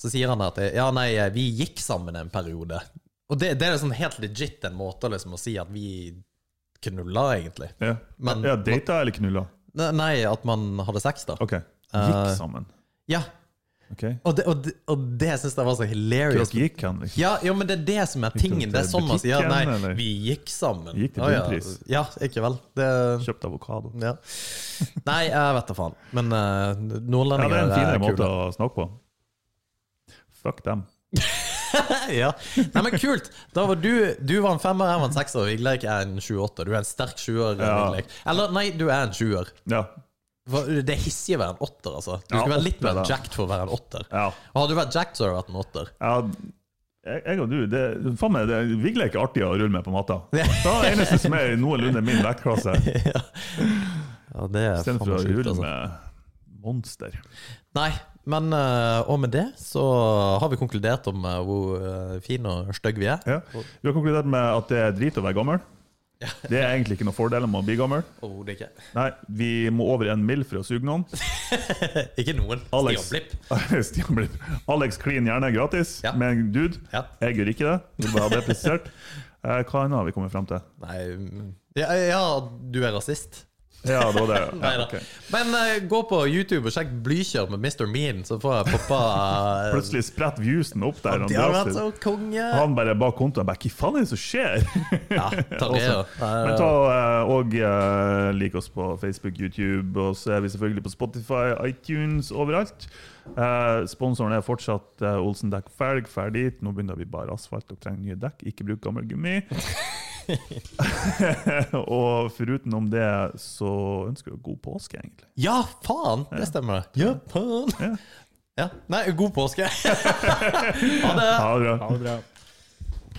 Speaker 1: Så sier han at ja, nei, vi gikk sammen en periode. Og det, det er liksom helt legit en måte liksom å si at vi knulla, egentlig.
Speaker 2: Ja,
Speaker 1: Men-
Speaker 2: ja data eller knulla?
Speaker 1: Ne- Nei, at man hadde sex, da.
Speaker 2: OK.
Speaker 1: Eh,
Speaker 2: Gikk sammen.
Speaker 1: Ja.
Speaker 2: Ok.
Speaker 1: Og det, og det, og det syns jeg var så hilarious.
Speaker 2: Dere gikk, liksom. Henrik.
Speaker 1: Ja, ja, men det er det som er tingen. Det er sånn man sier
Speaker 2: butikken,
Speaker 1: nei,
Speaker 2: eller?
Speaker 1: vi gikk sammen.
Speaker 2: Gikk til
Speaker 1: Å,
Speaker 2: bunnpris.
Speaker 1: Ja, ja, ikke vel. Det,
Speaker 2: Kjøpte avokado.
Speaker 1: ja. Nei, jeg vet da faen. Men eh,
Speaker 2: Ja, det
Speaker 1: nordlendinger
Speaker 2: er en finere måte
Speaker 1: kule.
Speaker 2: å snakke på. Fuck dem.
Speaker 1: ja. Nei, men kult! Da var du, du var en femmer, jeg var en sekser, og Vigleik er en sju-åtte. Du er en sterk sjuer.
Speaker 2: Ja.
Speaker 1: Vigleik. Eller nei, du er en sjuer.
Speaker 2: Ja.
Speaker 1: For Det er hissig å være en åtter, altså. Du
Speaker 2: Ja,
Speaker 1: skulle være litt
Speaker 2: åtter,
Speaker 1: mer
Speaker 2: da.
Speaker 1: jacked for å være en åtter.
Speaker 2: ja.
Speaker 1: Og hadde du vært jacked, så hadde du vært en åtter.
Speaker 2: ja. Jeg, jeg og du, det, faen meg, det, Vigle er ikke artig å rulle med på matta. Det er det eneste som er noenlunde min vektklasse.
Speaker 1: ja. ja, det er faen
Speaker 2: Istedenfor å
Speaker 1: meg sjukt,
Speaker 2: rulle
Speaker 1: altså.
Speaker 2: med monster.
Speaker 1: Nei, men eh, og med det så har vi konkludert om eh, hvor eh, fin og stygg vi er.
Speaker 2: Ja. Vi har konkludert med at det er drit å være gammel. Det er egentlig ikke noen fordel med å bli gammel.
Speaker 1: Overhodet ikke.
Speaker 2: Nei, Vi må over en mil for å suge noen.
Speaker 1: Ikke noen.
Speaker 2: Alex.
Speaker 1: Stian Blipp.
Speaker 2: Stian Blipp. Alex klin gjerne gratis
Speaker 1: Ja.
Speaker 2: med en dude.
Speaker 1: Ja.
Speaker 2: Jeg gjør ikke det. Vil bare ha det presisert. Eh, Hva annet har vi kommet frem til?
Speaker 1: Nei mm. ja, ja, du er rasist.
Speaker 2: Ja, det var det. Ja,
Speaker 1: Neida.
Speaker 2: ok.
Speaker 1: Men eh, gå på YouTube og sjekk Blykjør med Mr. Mean, så får jeg poppa eh,
Speaker 2: Plutselig spretter viewsen opp der.
Speaker 1: Det har
Speaker 2: Han,
Speaker 1: vært sånn, eh, så konge!
Speaker 2: han bare bak kontoen bare Hva faen er det som skjer?
Speaker 1: Ja, ta det, ja. Nei,
Speaker 2: Men ta eh, og eh, lik oss på Facebook, YouTube, og så er vi selvfølgelig på Spotify, iTunes, overalt. Eh, Sponsoren er fortsatt eh, Olsen Dekk Felg, ferdig. Nå begynner vi bare asfalt og trenger nye dekk. Ikke bruk gammel gummi. og foruten om det, så ønsker vi god påske, egentlig.
Speaker 1: Ja, faen! Det stemmer. Ja, faen. Ja. Nei, god påske! ha det!
Speaker 2: Ha det bra.
Speaker 3: Ha det bra.